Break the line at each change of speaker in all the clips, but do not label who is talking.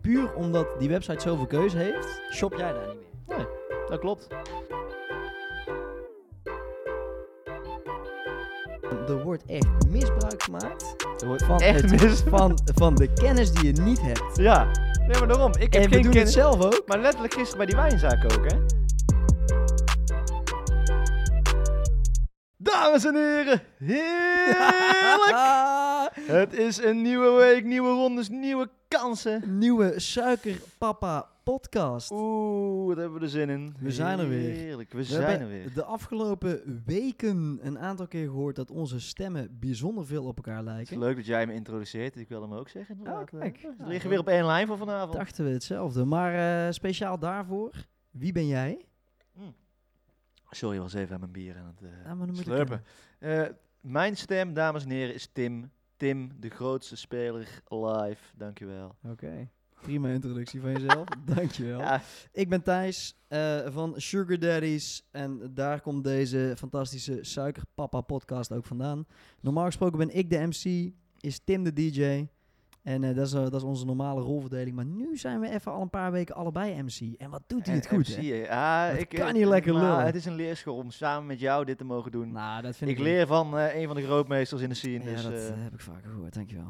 puur omdat die website zoveel keuze heeft, shop jij daar niet meer.
Dat klopt.
Er wordt echt misbruik gemaakt
Er wordt
van,
echt
het-
mis.
van, van de kennis die je niet hebt.
Ja. Nee, maar daarom. Ik heb
en we
geen
doen het
kennis.
zelf ook.
Maar letterlijk gisteren bij die wijnzaak ook, hè? Dames en heren, heerlijk! Het is een nieuwe week, nieuwe rondes, nieuwe kansen.
Nieuwe Suikerpapa podcast.
Oeh, wat hebben we er zin in.
We zijn er weer.
Heerlijk, we,
We
zijn er
hebben
weer.
de afgelopen weken een aantal keer gehoord dat onze stemmen bijzonder veel op elkaar
Het is
lijken.
leuk dat jij me introduceert, dus ik wil hem ook zeggen. inderdaad.
kijk.
Eh, We
Ja,
liggen
dan-
weer op één lijn voor vanavond.
Dachten we hetzelfde. Maar eh, speciaal daarvoor, wie ben jij?
Sorry, was even aan mijn bier aan het eh,
Ah, maar dan moet ik
slurpen. Eh, mijn stem, dames en heren, is Tim. Tim, de grootste speler live. Dankjewel.
Oké. Prima introductie van jezelf. Dankjewel.
Ja,
Ik ben Thijs eh, van Sugar Daddies. En daar komt deze fantastische Suikerpapa podcast ook vandaan. Normaal gesproken ben ik de MC, is Tim de DJ. En eh, dat, is, eh, dat is onze normale rolverdeling. Maar nu zijn we even al een paar weken allebei MC. En wat doet hij het
en
goed,
MC,
hè?
hè? Ah,
Dat
ik,
kan
eh,
niet lekker
maar
lullen.
Het is een leerschool om samen met jou dit te mogen doen.
Nou, dat vind ik...
ik leer van eh, een van de grootmeesters in de
Ja,
scene. dus,
dat
eh,
eh, heb ik vaak gehoord. Dankjewel.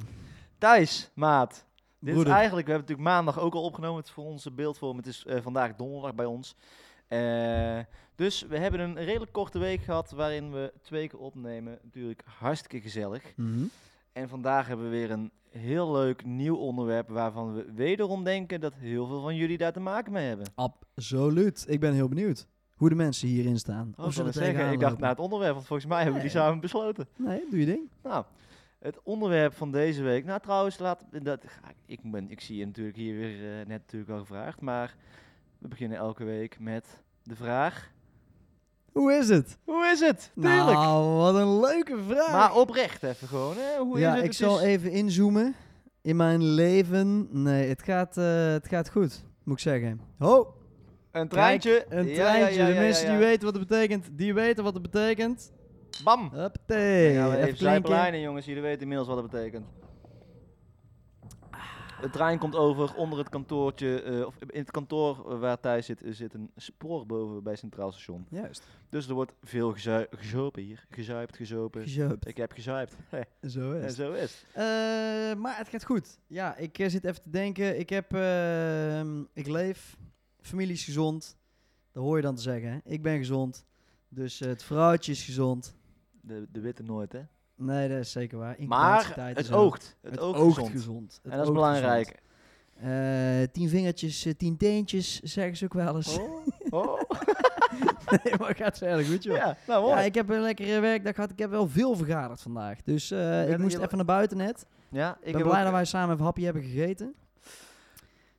Thijs, maat. Dit is
Broeder.
eigenlijk, we hebben het natuurlijk maandag ook al opgenomen het is voor onze beeldvorm. Het is eh, vandaag donderdag bij ons. Eh, dus we hebben een redelijk korte week gehad waarin we twee keer opnemen. Natuurlijk hartstikke gezellig.
Mhm.
En vandaag hebben we weer een heel leuk nieuw onderwerp waarvan we wederom denken dat heel veel van jullie daar te maken mee hebben.
Absoluut. Ik ben heel benieuwd hoe de mensen hierin staan.
Oh, ik
of ze
wou
er
net zeggen,
Oh, tegenaan
ik dacht
lopen.
naar het onderwerp, want volgens mij hebben we die
Nee.
samen besloten.
Nee, doe je ding.
Nou, het onderwerp van deze week. Nou, trouwens, laat, dat, ga ik- ik, ben, ik zie je natuurlijk hier weer eh, net natuurlijk al gevraagd. Maar we beginnen elke week met de vraag:
Hoe is het?
Hoe is het? Tuurlijk.
Nou, wat een leuke vraag.
maar oprecht even gewoon. Hè? Hoe
ja,
is het?
ik
Het
zal
is-
even inzoomen. In mijn leven, nee, het gaat, eh, het gaat goed, moet ik zeggen. Ho,
Een treintje.
een
Ja, ja,
treintje.
ja,
de
ja,
mensen
ja.
die weten wat het betekent, die weten wat het betekent.
Bam!
Huppatee.
Ja,
even
even
klinken.
zijplijnen, jongens. Jullie weten inmiddels wat dat betekent. De trein komt over onder het kantoortje, eh, of in het kantoor eh, waar Thijs zit, eh, zit een spoor boven bij Centraal Station.
Juist.
Dus er wordt veel gezui- gezopen hier. Gezuipt, gezopen.
Gezuipt.
Ik heb gezuipt. Hé,
Zo is
en
het.
zo is het.
Eh, maar het gaat goed. Ja, ik eh, zit even te denken. Ik heb, ehm, ik leef, familie is gezond. Dat hoor je dan te zeggen. hè. Ik ben gezond, dus eh, het vrouwtje is gezond.
De, de witte nooit, hè?
Nee, dat is zeker waar.
Maar
Incompatibiliteit
het
is ook-
oogt. Het, oogt, gezond.
Het
en dat is
oogt
belangrijk.
gezond. Eh, tien vingertjes, eh, tien teentjes, zeggen ze ook wel eens.
Oh, oh.
nee, maar gaat ze erg goed, joh. Ja,
ja, nou mooi. Ja,
ik heb een lekkere werkdag gehad. Ik heb wel veel vergaderd vandaag. Dus eh, ik
bent
moest
heel-
even naar buiten net. Ik
ik
ben
heb
blij
ook- eh,
dat wij samen even hapje hebben gegeten.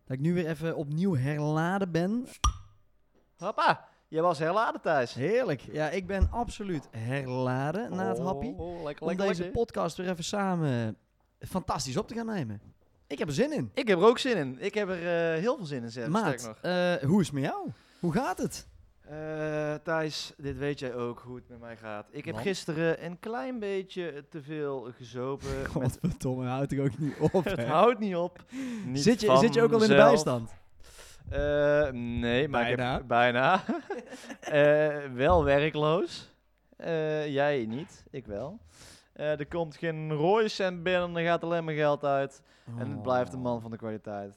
Dat ik nu weer even opnieuw herladen ben.
Papa, je was herladen, Thijs.
Heerlijk. Ja, ik ben absoluut herladen na het happie.
Oh, oh, lekker,
Om
lekker,
deze
lekker.
podcast weer even samen fantastisch op te gaan nemen. Ik heb er zin in.
Ik heb er ook zin in. Ik heb er eh, heel veel zin in, zeg sterk
Maat,
nog.
eh, hoe is het met jou? Hoe gaat het?
Eh, Thijs, dit weet jij ook hoe het met mij gaat. Ik heb
Want?
gisteren een klein beetje te veel gezopen. met,
Godverdomme, houdt ik ook niet op.
het
hè.
houdt niet op. Niet
zit, je, zit je ook al in de
vanzelf.
bijstand?
Eh, nee, maar ik
Bijna.
heb bijna. Eh, wel werkloos. Eh, jij niet, ik wel. Eh, er komt geen rode cent binnen, er gaat alleen maar geld uit. En het blijft een man
Oh.
van de kwaliteit.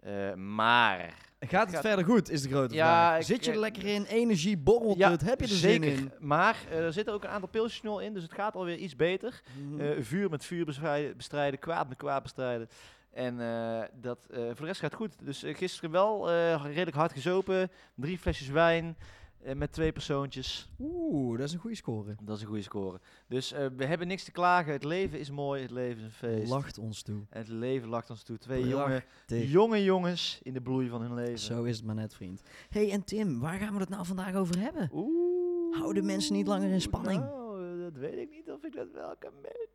Eh, maar
Gaat het
Gaat-
verder goed, is de grote
Ja,
vraag.
ik-
Zit je er
ik-
lekker in? Energie, borrelt
Ja,
het? Heb je er
zeker.
zin
Maar eh, er zitten ook een aantal pilsjes nu al in, dus het gaat alweer iets beter.
in?
Eh, vuur met vuur bestrijden, bestrijden, kwaad met kwaad bestrijden. En eh, dat, eh, voor de rest gaat goed. Dus eh, gisteren wel eh, redelijk hard gezopen. Drie flesjes wijn eh, met twee persoontjes.
Oeh, dat is een goede score.
Dat is een goede score. Dus eh, we hebben niks te klagen. Het leven is mooi, het leven is een feest.
Lacht ons toe.
Het leven lacht ons toe. Twee jonge,
Prachtig.
jonge jongens in de bloei van hun leven.
Zo is het maar net, vriend. hey, en Tim, waar gaan we het nou vandaag over hebben?
Oeh.
Houden mensen niet langer in spanning?
Nou, eh, dat weet ik niet of ik dat wel kan meenemen.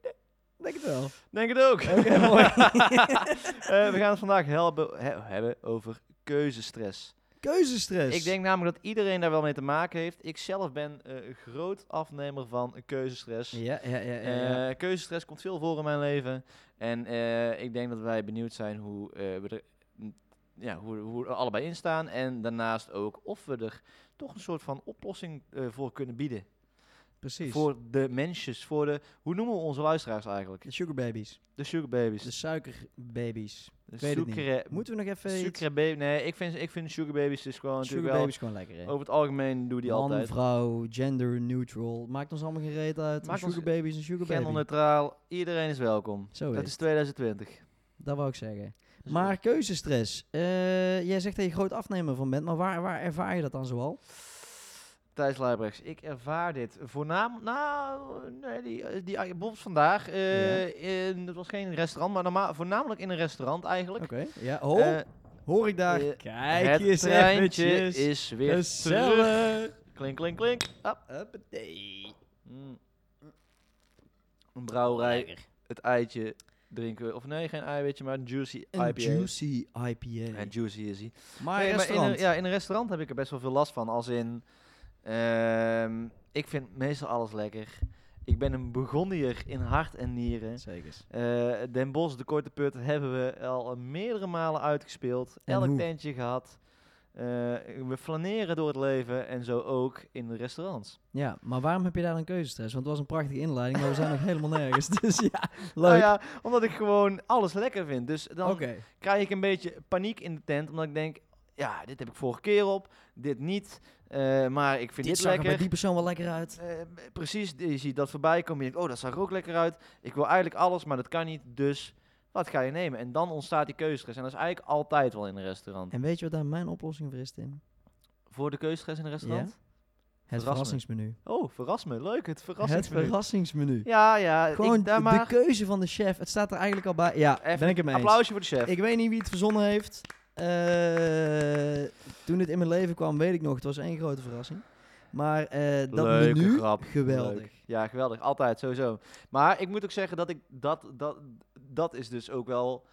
Denk het wel.
Denk het ook.
Oké, mooi.
Eh, we gaan het vandaag helpen, he- hebben over keuzestress.
Keuzestress.
Ik denk namelijk dat iedereen daar wel mee te maken heeft. Ik zelf ben eh, groot afnemer van keuzestress.
Ja, ja, ja. ja, ja.
Eh, keuzestress komt veel voor in mijn leven. En eh, ik denk dat wij benieuwd zijn hoe eh, we er mm, ja, hoe, hoe er allebei in staan. En daarnaast ook of we er toch een soort van oplossing eh, voor kunnen bieden.
Precies.
Voor de mensjes, voor de... Hoe noemen we onze luisteraars eigenlijk?
de sugar babies.
De sugarbabies.
De suikerbabies.
De
Ik weet het
sucre-
niet. Moeten we nog even iets-
sucrebaby- Nee, ik vind, ik vind sugarbabies dus gewoon natuurlijk wel... Oh,
Sugarbabies gewoon lekker, hè?
Over het algemeen doen die
Man,
altijd.
vrouw, gender neutral. Maakt ons allemaal geen reet uit.
Maakt
Maakt
ons-
sugar babies en sugar baby.
Genderneutraal, iedereen is welkom.
Zo is
dat
het.
is 2020.
Dat wou ik zeggen.
Dus
Maar keuzestress. Eh, jij zegt dat je groot afnemer van bent, maar waar, waar ervaar je dat dan zoal?
Thijs Leibrechts, ik ervaar dit voornamelijk. Nou, nee, die, die, bijvoorbeeld vandaag. eh, in, het was geen restaurant, maar normaal, voornamelijk in een restaurant eigenlijk.
Ja, ho,
Eh,
hoor ik daar.
eh,
Kijk
het
eens
treintje
eventjes.
is weer terug.
Gezellig.
Klink, klink, klink. Hop.
Huppatee.
Mm. Een brouwerij, het eitje drinken we. Of nee, geen eiwitje, maar een juicy
Een
IPA.
juicy IPA.
En juicy is hij.
maar
Nee, maar in
restaurant.
een, ja, in een restaurant heb ik er best wel veel last van. Als in, ehm, ik vind meestal alles lekker. Ik ben een begonnier in hart en nieren.
Zeker.
Eh, Den Bos, de Korte Put, hebben we al meerdere malen uitgespeeld.
En
Elk
hoe?
tentje gehad. Eh, we flaneren door het leven en zo ook in de restaurants.
Ja, maar waarom heb je daar een keuzestress? Want het was een prachtige inleiding, maar we zijn nog helemaal nergens. Dus ja, leuk.
Nou ja, omdat ik gewoon alles lekker vind. Dus dan
Oké.
krijg ik een beetje paniek in de tent. Omdat ik denk, ja, dit heb ik vorige keer op. Dit niet. Eh, maar ik vind
Dit,
dit,
zag er
lekker.
bij die persoon wel lekker uit.
Eh, b- precies, je ziet dat voorbij komen. Je denkt, oh, dat zag er ook lekker uit. Ik wil eigenlijk alles, maar dat kan niet. Dus wat ga je nemen? En dan ontstaat die keuzestress. En dat is eigenlijk altijd wel in een restaurant.
En weet je wat daar mijn oplossing voor is, Tim?
Voor de keuzestress in een restaurant?
Het
Verras me.
verrassingsmenu.
Oh, verras me. Leuk, het
Het
verrassingsmenu.
verrassingsmenu.
ja, ja.
Gewoon
ik, daar
de
maar
keuze van de chef. Het staat er eigenlijk al bij. Ja,
Even
ben ik het mee eens.
applausje voor de chef.
Ik weet niet wie het verzonnen heeft. Eh, toen het in mijn leven kwam, weet ik nog, het was één grote verrassing. Maar eh dat
Leuke
menu,
grap.
geweldig.
Leuk. Ja, geweldig. Altijd, sowieso. Maar ik moet ook zeggen dat ik dat, dat, dat is dus ook wel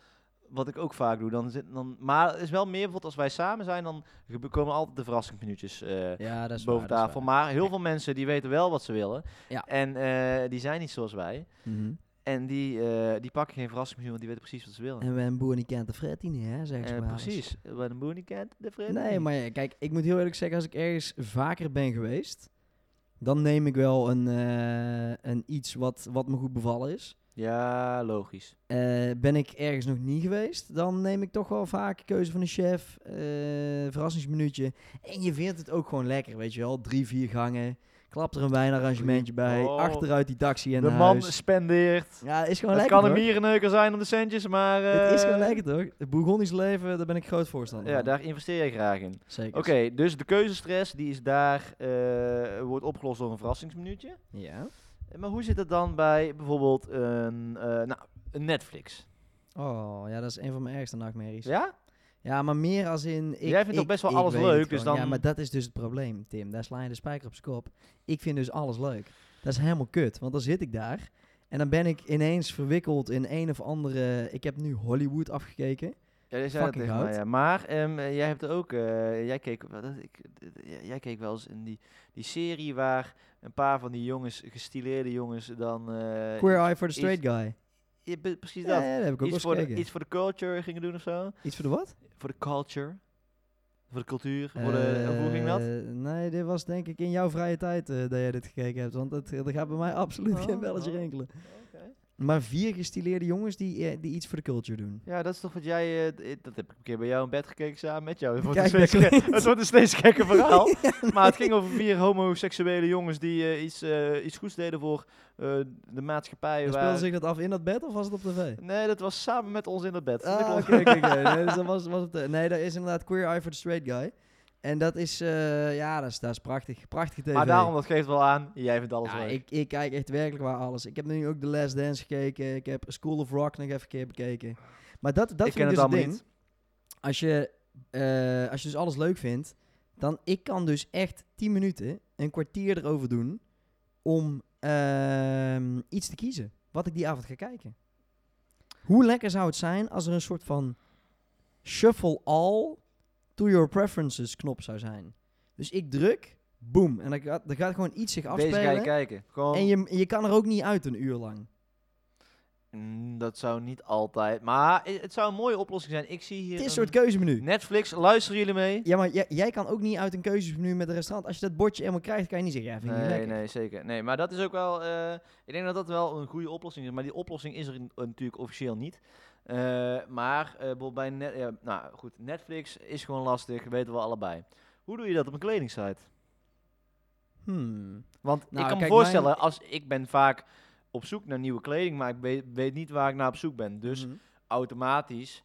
wat ik ook vaak doe. Dan zit, dan, maar het is wel meer bijvoorbeeld als wij samen zijn, dan gebe- komen altijd de verrassingsminuutjes eh,
Ja, dat is
boven
waar, dat is
tafel.
waar.
Maar heel veel mensen die weten wel wat ze willen.
Ja.
En eh, die zijn niet zoals wij.
Mhm.
En die, eh, die pakken geen verrassingsmenu, want die weten precies wat ze willen.
En we hebben boer niet kent de fret niet, hè, zeggen ze
Eh,
maar eens.
precies. Wat een boer niet kent, de vriend
Nee,
niet.
maar ja, kijk, ik moet heel eerlijk zeggen, als ik ergens vaker ben geweest, dan neem ik wel een, eh, een iets wat, wat me goed bevallen is.
Ja, logisch.
Eh, ben ik ergens nog niet geweest, dan neem ik toch wel vaak keuze van een chef, eh verrassingsminuutje. En je vindt het ook gewoon lekker, weet je wel. Drie, vier gangen, klap er een wijnarrangementje bij,
Oh.
achteruit die taxi en
de
naar
man
huis.
spendeert.
Ja, is gewoon
Het
Oh, lekker
kan een
hoor.
mierenneuker zijn om de centjes, maar...
Het is
eh,
gewoon lekker toch? Het Bourgondisch leven, daar ben ik groot voorstander
Ja,
van.
daar investeer je graag in.
Zeker.
Oké, dus de keuzestress die is daar, eh, wordt opgelost door een verrassingsminuutje. Eh,
Ja.
Maar hoe zit het dan bij bijvoorbeeld een, eh, nou, een Netflix?
Oh, ja, dat is een van mijn ergste nachtmerries.
Ja?
Ja, maar meer als in... Ik,
Jij vindt
ik,
toch best wel
ik
alles
weet het
leuk, dus
gewoon. Ja,
dan-
maar dat is dus het probleem, Tim. Daar sla je de spijker op zijn kop. Ik vind dus alles leuk. Dat is helemaal kut, want dan zit ik daar... en dan ben ik ineens verwikkeld in een of andere... Ik heb nu Hollywood afgekeken.
Ja, jij zei dat
Fucking
tegen mij,
goud.
ja. Maar ehm, eh, jij hebt er ook, eh, jij, keek, wel- dat, ik, d- j- jij keek wel eens in die, die serie waar een paar van die jongens, gestileerde jongens, dan... eh,
Queer
iets-
Eye for the Straight Guy.
ja, pre- precies
Ja,
dat.
ja, dat heb ik ook wel
Iets
eens
voor, de,
gekeken.
iets voor de culture gingen doen of zo.
Iets voor de wat?
Voor de culture. Voor de cultuur. Voor de,
Eh,
hoe ging dat?
Nee, dit was denk ik in jouw vrije tijd eh, dat jij dit gekeken hebt. Want het, er gaat bij mij absoluut geen
Oh,
belletje
oh.
rinkelen. Maar vier gestileerde jongens die, eh, die iets voor de culture doen.
Ja, dat is toch wat jij... eh, d- dat heb ik een keer bij jou in bed gekeken samen met jou. Het wordt,
Kijk,
een, steeds
daar
ge-
klinkt-
het wordt een steeds gekker verhaal. Maar het ging over vier homoseksuele jongens die eh, iets, eh, iets goeds deden voor eh, de maatschappij.
En
waar-
speelde zich dat af in dat bed of was het op tv?
Nee, dat was samen met ons in het bed. Dat
Ah,
klopt.
oké, oké, oké. Nee, dus dat was, was op de... Nee, dat is inderdaad Queer Eye for the Straight Guy. En dat is, eh, ja, dat is, dat is prachtig. Prachtige tv.
Maar daarom, dat geeft wel aan, jij vindt alles
Ja,
leuk.
ik, ik kijk echt werkelijk waar alles. Ik heb nu ook The Last Dance gekeken. Ik heb School of Rock nog even een keer bekeken. Maar dat, dat
Ik
vind
ken
ik
het
dus
allemaal
ding.
niet.
Als je, eh, als je dus alles leuk vindt, dan ik kan dus echt 10 minuten, een kwartier erover doen om ehm, iets te kiezen. Wat ik die avond ga kijken. Hoe lekker zou het zijn als er een soort van shuffle all to your preferences knop zou zijn. Dus ik druk, boom. En dan gaat, dan gaat gewoon iets zich
Deze ga je
afspelen.
kijken. Gewoon,
En je, je kan er ook niet uit een uur lang.
Mm, dat zou niet altijd. Maar i- het zou een mooie oplossing zijn. Ik zie hier.
Het is een
een-
soort keuzemenu.
Netflix, luisteren jullie mee?
Ja, maar jij, jij kan ook niet uit een keuzemenu met een restaurant. Als je dat bordje helemaal krijgt, kan je niet zeggen, ja, vind ik niet
Nee,
lekker.
nee, zeker. Nee, maar dat is ook wel. eh, ik denk dat dat wel een goede oplossing is. Maar die oplossing is er in- eh, natuurlijk officieel niet. Eh, maar eh, bijvoorbeeld bij net, ja, nou, goed, Netflix is gewoon lastig, weten we allebei. Hoe doe je dat op een kledingsite?
Hmm.
Want
Nou,
ik kan me
kijk,
voorstellen, als ik ben vaak op zoek naar nieuwe kleding, maar ik weet, weet niet waar ik naar op zoek ben. Dus
Mhm.
automatisch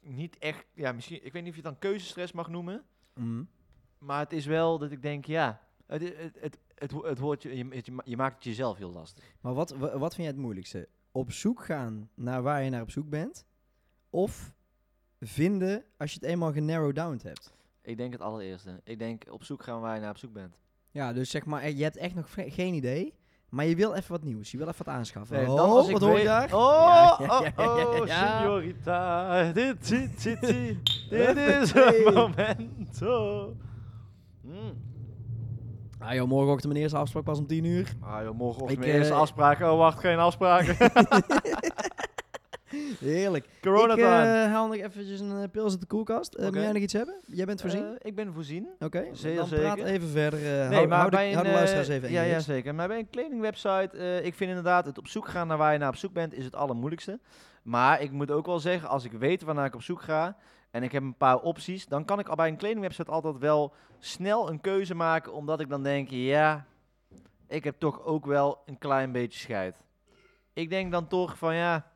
niet echt. Ja, misschien. Ik weet niet of je het dan keuzestress mag noemen.
Mhm.
Maar het is wel dat ik denk, ja, het, i- het, het, het, wo- het woordje, je, het- je ma- je maakt het jezelf heel lastig.
Maar wat, wa- wat vind jij het moeilijkste? Op zoek gaan naar waar je naar op zoek bent? Of vinden als je het eenmaal genarrowed down hebt?
Ik denk het allereerste. Ik denk op zoek gaan waar je naar op zoek bent.
Ja, dus zeg maar, eh, je hebt echt nog vre- geen idee, maar je wil even wat nieuws. Je wil even wat aanschaffen.
Nee,
oh,
eh, dan als ik
wat hoor je
weer-
daar?
Oh,
Ja, ja, ja, ja,
oh, oh,
ja.
señorita. Dit, dit, dit, dit, dit is
Huppatee.
het moment. Oh. Mm.
Ah joh, morgenochtend mijn eerste afspraak pas om 10 uur.
Ah joh, morgenochtend
Ik,
mijn eerste
eh,
afspraak. Oh, wacht, geen afspraken.
Heerlijk.
Corona
ik
time.
eh, haal nog eventjes een eh, pils uit de koelkast. Eh,
Oké.
Moet jij nog iets hebben? Jij bent voorzien?
Eh, ik ben voorzien.
Oké,
zeer
dan praat
zeker.
even verder. eh, hou-
Nee, maar
hou, de,
bij een,
hou de
eh,
luisteraars even in
ja,
de
ja,
gids.
zeker. Maar bij een kledingwebsite, eh, ik vind inderdaad het op zoek gaan naar waar je naar op zoek bent, is het allermoeilijkste. Maar ik moet ook wel zeggen, als ik weet waarnaar ik op zoek ga en ik heb een paar opties, dan kan ik al bij een kledingwebsite altijd wel snel een keuze maken, omdat ik dan denk, ja, ik heb toch ook wel een klein beetje scheid. Ik denk dan toch van, ja,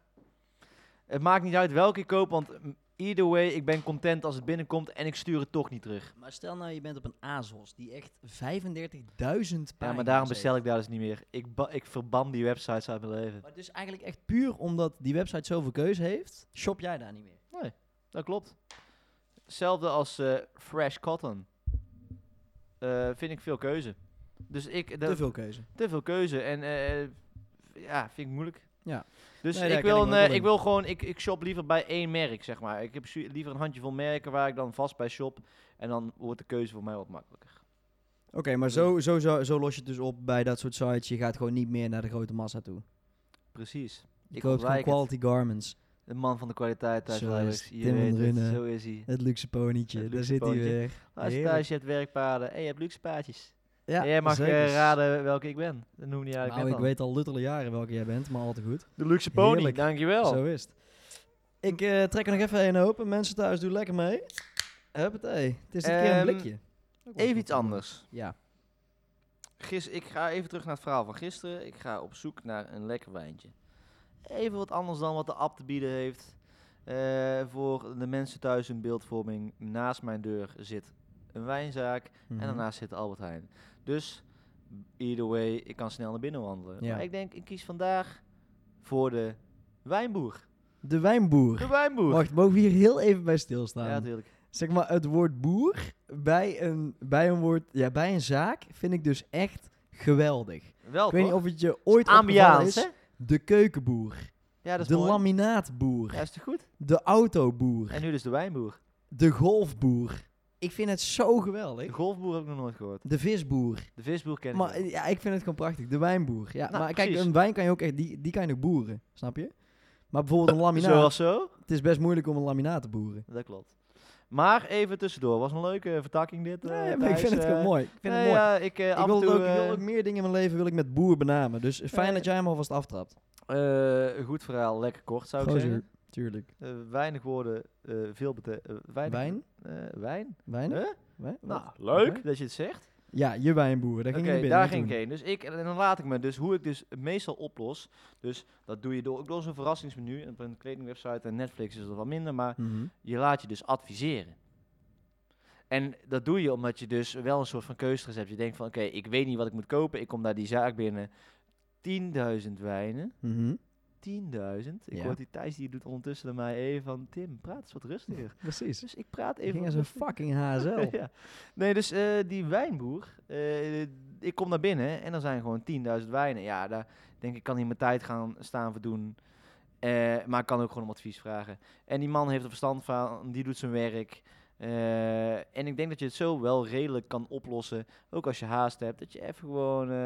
het maakt niet uit welke ik koop, want mm, either way, ik ben content als het binnenkomt en ik stuur het toch niet terug.
Maar stel nou, je bent op een ASOS die echt 35.000 pagina's
Ja, maar daarom
heeft.
bestel ik daar dus niet meer. Ik, ba- ik verban die websites uit mijn leven.
Maar dus eigenlijk echt puur omdat die website zoveel keuze heeft, shop jij daar niet meer.
Dat klopt. Hetzelfde als eh, Fresh Cotton. Eh, vind ik veel keuze. Dus ik... de-
Te veel keuze.
te veel keuze. En eh, ja, vind ik moeilijk.
Ja.
Dus
Nee, daar
ik,
ken
wil
ik
een,
me ook
eh,
wel
ik
in.
wil gewoon... Ik, ik shop liever bij één merk, zeg maar. Ik heb su- liever een handjevol merken waar ik dan vast bij shop. En dan wordt de keuze voor mij wat makkelijker.
Oké, maar zo, zo, zo, zo los je het dus op bij dat soort sites. Je gaat gewoon niet meer naar de grote massa toe.
Precies.
Je koopt
Ik
gewoon
ontwijk het.
quality garments.
De man van de kwaliteit thuis.
Zo is
Leijwers.
het.
Je
Tim van
weet het.
Drunen.
Zo is hij.
Het luxe ponytje,
Het
daar
luxe
zit hij
ponytje.
weer.
Als je
Heerlijk.
thuis je hebt werkpaarden en je hebt luxe paardjes.
Ja,
en jij mag eh,
zeker.
raden welke ik ben. Dat noemde je eigenlijk
Nou,
net
ik
al.
weet al luttele jaren welke jij bent, maar al te goed.
De luxe
pony,
pony, dankjewel.
Zo is het. Ik eh, trek er nog even een open. Mensen thuis, doe lekker mee. Huppatee. Het is dit keer een
Ehm,
blikje.
Even iets anders.
Ja.
Gis, ik ga even terug naar het verhaal van gisteren. Ik ga op zoek naar een lekker wijntje. Even wat anders dan wat de app te bieden heeft. Eh, voor de mensen thuis in beeldvorming. Naast mijn deur zit een wijnzaak.
Mhm.
En daarnaast zit de Albert Heijn. Dus either way, ik kan snel naar binnen wandelen.
Ja.
Maar ik denk, ik kies vandaag voor de wijnboer.
De wijnboer.
De wijnboer.
Wacht, mogen we hier heel even bij
ja,
stilstaan?
natuurlijk.
zeg maar, het woord boer bij een, bij een, woord, ja, bij een zaak vind ik dus echt geweldig.
Wel,
ik weet niet
Oh, toch?
of het je ooit opgevallen
Ambiance,
is.
hè?
De keukenboer,
Ja, dat is
de
mooi.
laminaatboer,
Ja, is toch goed?
de autoboer,
En nu dus de wijnboer.
de golfboer. Ik vind het zo
De
geweldig.
golfboer heb ik nog nooit gehoord.
De visboer.
De visboer ken ik
Maar
wel.
eh, ja, ik vind het gewoon prachtig. De wijnboer. Ja,
Nou,
maar kijk,
precies.
een wijn kan je ook echt, die, die kan je nog boeren, snap je? Maar bijvoorbeeld een laminaat,
Zoals zo?
het is best moeilijk om een laminaat te boeren.
Dat klopt. Maar even tussendoor. Was een leuke vertakking dit. eh,
Nee, maar ik
Thijs,
vind het
eh.
gewoon mooi. Ik vind
nee,
het mooi.
Ja, ik, eh, af
Ik
en
wil, het
toe,
ook, ik wil
eh,
ook meer dingen in mijn leven wil ik met boer benamen. Dus fijn
eh,
dat jij hem alvast aftrapt.
eh, goed verhaal, lekker kort zou ik
Gozer,
zeggen.
Tuurlijk.
Eh, weinig woorden, eh, veel bete- eh, weinig-
Wijn?
eh, wijn?
Weinig?
Huh?
Wij-
Nou,
wat?
leuk
Oké.
dat je het zegt.
Ja, je wijnboer. Daar
Oké,
ging je binnen.
daar
hè,
ging ik
toen.
heen. Dus ik, en dan laat ik me dus hoe ik dus meestal oplos. Dus dat doe je door, ook door zo'n verrassingsmenu. En op een kledingwebsite en Netflix is dat wat minder, maar
Mhm.
je laat je dus adviseren. En dat doe je omdat je dus wel een soort van keuzestress hebt. Je denkt van, oké, ik weet niet wat ik moet kopen. Ik kom naar die zaak binnen. 10.000 wijnen.
Mhm.
10.000. Ik
Ja.
hoor die Thijs, die doet ondertussen naar mij even van... Tim, praat eens wat rustiger.
Precies.
Dus ik praat
Ik
even
ging als
wat
een
rustiger.
fucking HSL.
ja. Nee, dus eh, die wijnboer, eh, ik kom naar binnen en er zijn gewoon 10.000 wijnen. Ja, daar denk ik, kan hij mijn tijd gaan staan verdoen. Eh, maar ik kan ook gewoon om advies vragen. En die man heeft er verstand van, die doet zijn werk. Eh, en ik denk dat je het zo wel redelijk kan oplossen, ook als je haast hebt, dat je even gewoon eh,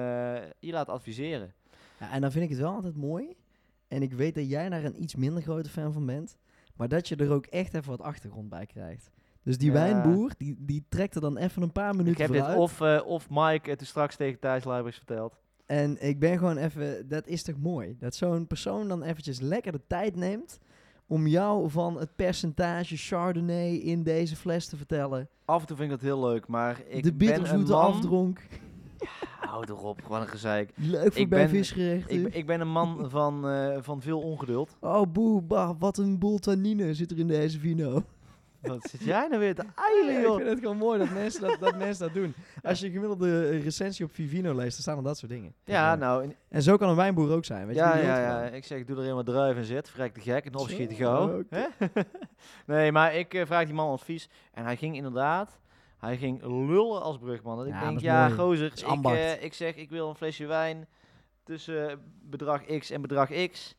je laat adviseren.
Ja, en dan vind ik het wel altijd mooi En ik weet dat jij daar een iets minder grote fan van bent. Maar dat je er ook echt even wat achtergrond bij krijgt. Dus die
Ja.
wijnboer, die, die trekt er dan even een paar minuten
Ik heb dit
vooruit.
of, eh, of Mike het straks tegen Thijs Leibers verteld.
En ik ben gewoon even, dat is toch mooi? Dat zo'n persoon dan eventjes lekker de tijd neemt om jou van het percentage Chardonnay in deze fles te vertellen.
Af en toe vind ik dat heel leuk, maar ik
de
ben een
bitterzoete
man...
afdronk.
Hou erop, wat een gezeik.
Leuk voor
Ik
bij
ben-
visgerechten.
Ik, ik ben een man van, eh, van veel ongeduld.
Oh boe, bah, wat een boel tannine zit er in deze vino.
Wat zit jij nou weer te eilen,
ik
joh?
vind het gewoon mooi dat mensen dat, dat, mensen dat doen. Als je een gemiddelde eh, recensie op Vivino leest, dan staan er dat soort dingen.
Ja, nou, in-
En zo kan een wijnboer ook zijn. Weet je,
ja,
die
ja,
lult
ja.
gewoon.
Ik zeg, ik doe er helemaal druif en zit. Vrek de gek en opschiet
Zo,
gauw.
oké.
Hè? nee, maar ik eh, vraag die man advies. En hij ging inderdaad... Hij ging lullen als brugman. Dat ik
Ja,
denk,
dat is
ja,
mooi.
gozer.
Dat is
Ik,
ambacht.
eh, ik zeg, ik wil een flesje wijn tussen eh, bedrag X en bedrag X.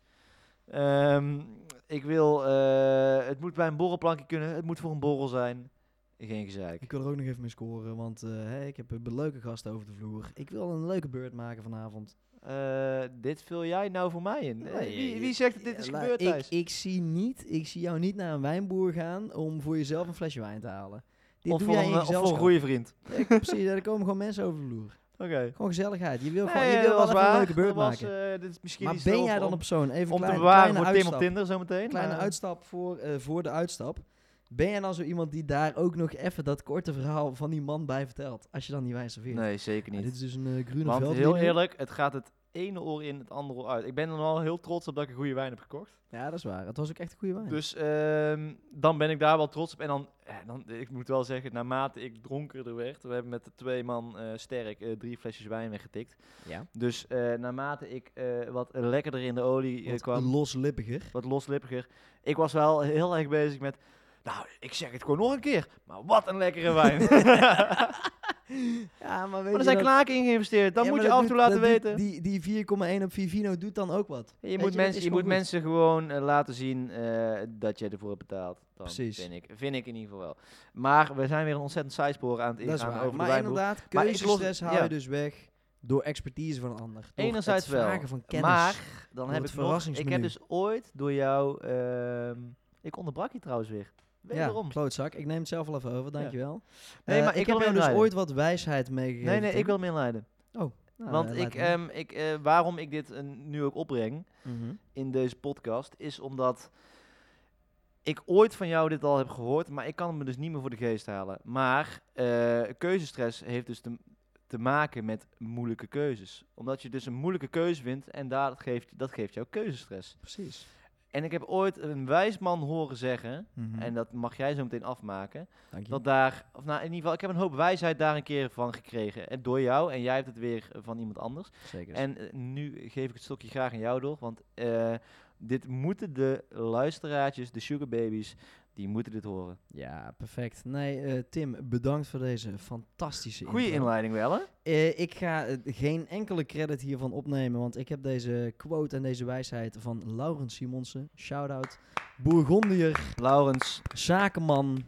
Ehm, ik wil... eh, het moet bij een borrelplankje kunnen. Het moet voor een borrel zijn. Geen gezeik.
Ik wil er ook nog even mee scoren, want eh, hè, ik heb een leuke gasten over de vloer. Ik wil een leuke beurt maken vanavond.
Eh, dit vul jij nou voor mij in. Eh,
Nee,
wie, wie zegt dat dit
Ja,
is
la-
gebeurd,
ik,
Thijs?
ik, zie niet, ik zie jou niet naar een wijnboer gaan om voor jezelf een flesje wijn te halen. Dit
Of
doe
voor
jij
een,
in
eh, of voor een
gezelschap.
goede vriend.
Ik- Precies, daar komen gewoon mensen over de vloer.
Oké.
Gewoon gezelligheid. Je wil, gewoon,
Nee,
je wil
dat
wel
was
even
waar.
een leuke beurt
Dat was,
maken.
eh, dit is misschien
maar
iets
ben
wel
jij
om-
dan een persoon? Even
om
klein,
te bewaren
kleine
voor Tim
uitstap.
op Tinder zometeen?
Kleine
maar-
uitstap voor, eh, voor de uitstap. Ben jij dan zo iemand die daar ook nog even dat korte verhaal van die man bij vertelt? Als je dan die wijn serveert.
Nee, zeker
Ah, dit
niet.
is dus een eh, groene
Want
veldwiener.
heel eerlijk, het gaat het ene oor in, het andere oor uit. Ik ben er al heel trots op dat ik een goede wijn heb gekocht.
Ja, dat is waar. Het was ook echt een goede wijn.
Dus ehm, dan ben ik daar wel trots op. En dan, eh, dan, ik moet wel zeggen, naarmate ik dronkerder werd... We hebben met de twee man eh, sterk eh, drie flesjes wijn weggetikt.
ja.
Dus eh, naarmate ik eh, wat lekkerder in de olie eh,
Wat
kwam...
loslippiger.
wat loslippiger. Ik was wel heel erg bezig met. Nou, ik zeg het gewoon nog een keer. Maar wat een lekkere wijn. maar
Ja, maar weet
er zijn knaken in geïnvesteerd. Dat moet je af en toe laten weten.
Die, die 4,1 op Vivino doet dan ook wat.
je
dat
moet,
is
mensen, je
gewoon
moet
goed.
mensen gewoon eh, laten zien eh, dat je ervoor hebt betaald. Dan
Precies.
Vind ik, vind ik in ieder geval wel. Maar we zijn weer een ontzettend zijspoor aan het
Dat is
ingaan
waar.
over
Maar
de wijnboer.
inderdaad,
Maar ik los-
keuzestress haal
ja.
je dus weg door expertise van een ander. Door
Enerzijds
het
wel,
vragen van kennis.
Maar dan
het
heb ik nog, ik heb
verrassingsmenu.
dus ooit door jou, ehm, ik onderbrak je trouwens weer.
ja,
Wederom.
klootzak. Ik neem het zelf wel even over, dankjewel.
Nee,
Eh,
maar
heb
ik wil
jou dus
inleiden.
ooit wat wijsheid meegegeven.
nee, nee,
Tim.
ik wil hem inleiden.
Nou,
Want
eh,
ik,
laat maar.
ehm, ik, eh, waarom ik dit eh, nu ook opbreng
Mhm.
in deze podcast, is omdat ik ooit van jou dit al heb gehoord, maar ik kan het me dus niet meer voor de geest halen. Maar eh, keuzestress heeft dus te, te maken met moeilijke keuzes. Omdat je dus een moeilijke keuze vindt en dat geeft, dat geeft jou keuzestress.
Precies.
En ik heb ooit een wijs man horen zeggen,
Mhm.
en dat mag jij zo meteen afmaken,
Dank je.
dat daar, of nou in ieder geval, ik heb een hoop wijsheid daar een keer van gekregen. En door jou, en jij hebt het weer eh, van iemand anders.
Zeker.
En eh, nu geef ik het stokje graag aan jou door, want eh, dit moeten de luisteraartjes, de sugarbabies, die moeten dit horen.
Ja, perfect. Nee, eh, Tim, bedankt voor deze fantastische
Goeie
intro.
inleiding wel, hè?
Eh, ik ga eh, geen enkele credit hiervan opnemen, want ik heb deze quote en deze wijsheid van Laurens Simonsen. Shout-out. Bourgondier,
Laurens,
zakenman,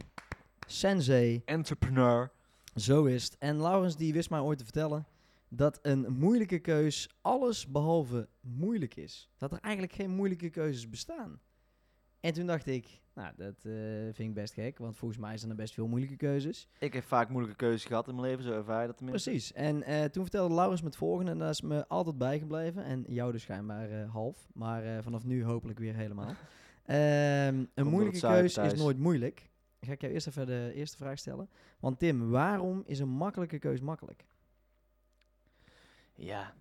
sensei,
entrepreneur.
zo is het. En Laurens die wist mij ooit te vertellen dat een moeilijke keus alles behalve moeilijk is. Dat er eigenlijk geen moeilijke keuzes bestaan. En toen dacht ik, nou dat eh, vind ik best gek, want volgens mij zijn er best veel moeilijke keuzes.
Ik heb vaak moeilijke keuzes gehad in mijn leven, zo ervaar je dat tenminste.
Precies. En eh, toen vertelde Laurens me het volgende en daar is me altijd bijgebleven. En jou dus schijnbaar eh, half, maar eh, vanaf nu hopelijk weer helemaal. Ehm, een
het
moeilijke
zuiden,
keus is
Thijs.
nooit moeilijk. Ga ik jou eerst even de eerste vraag stellen. Want Tim, waarom is een makkelijke keus makkelijk?
Ja,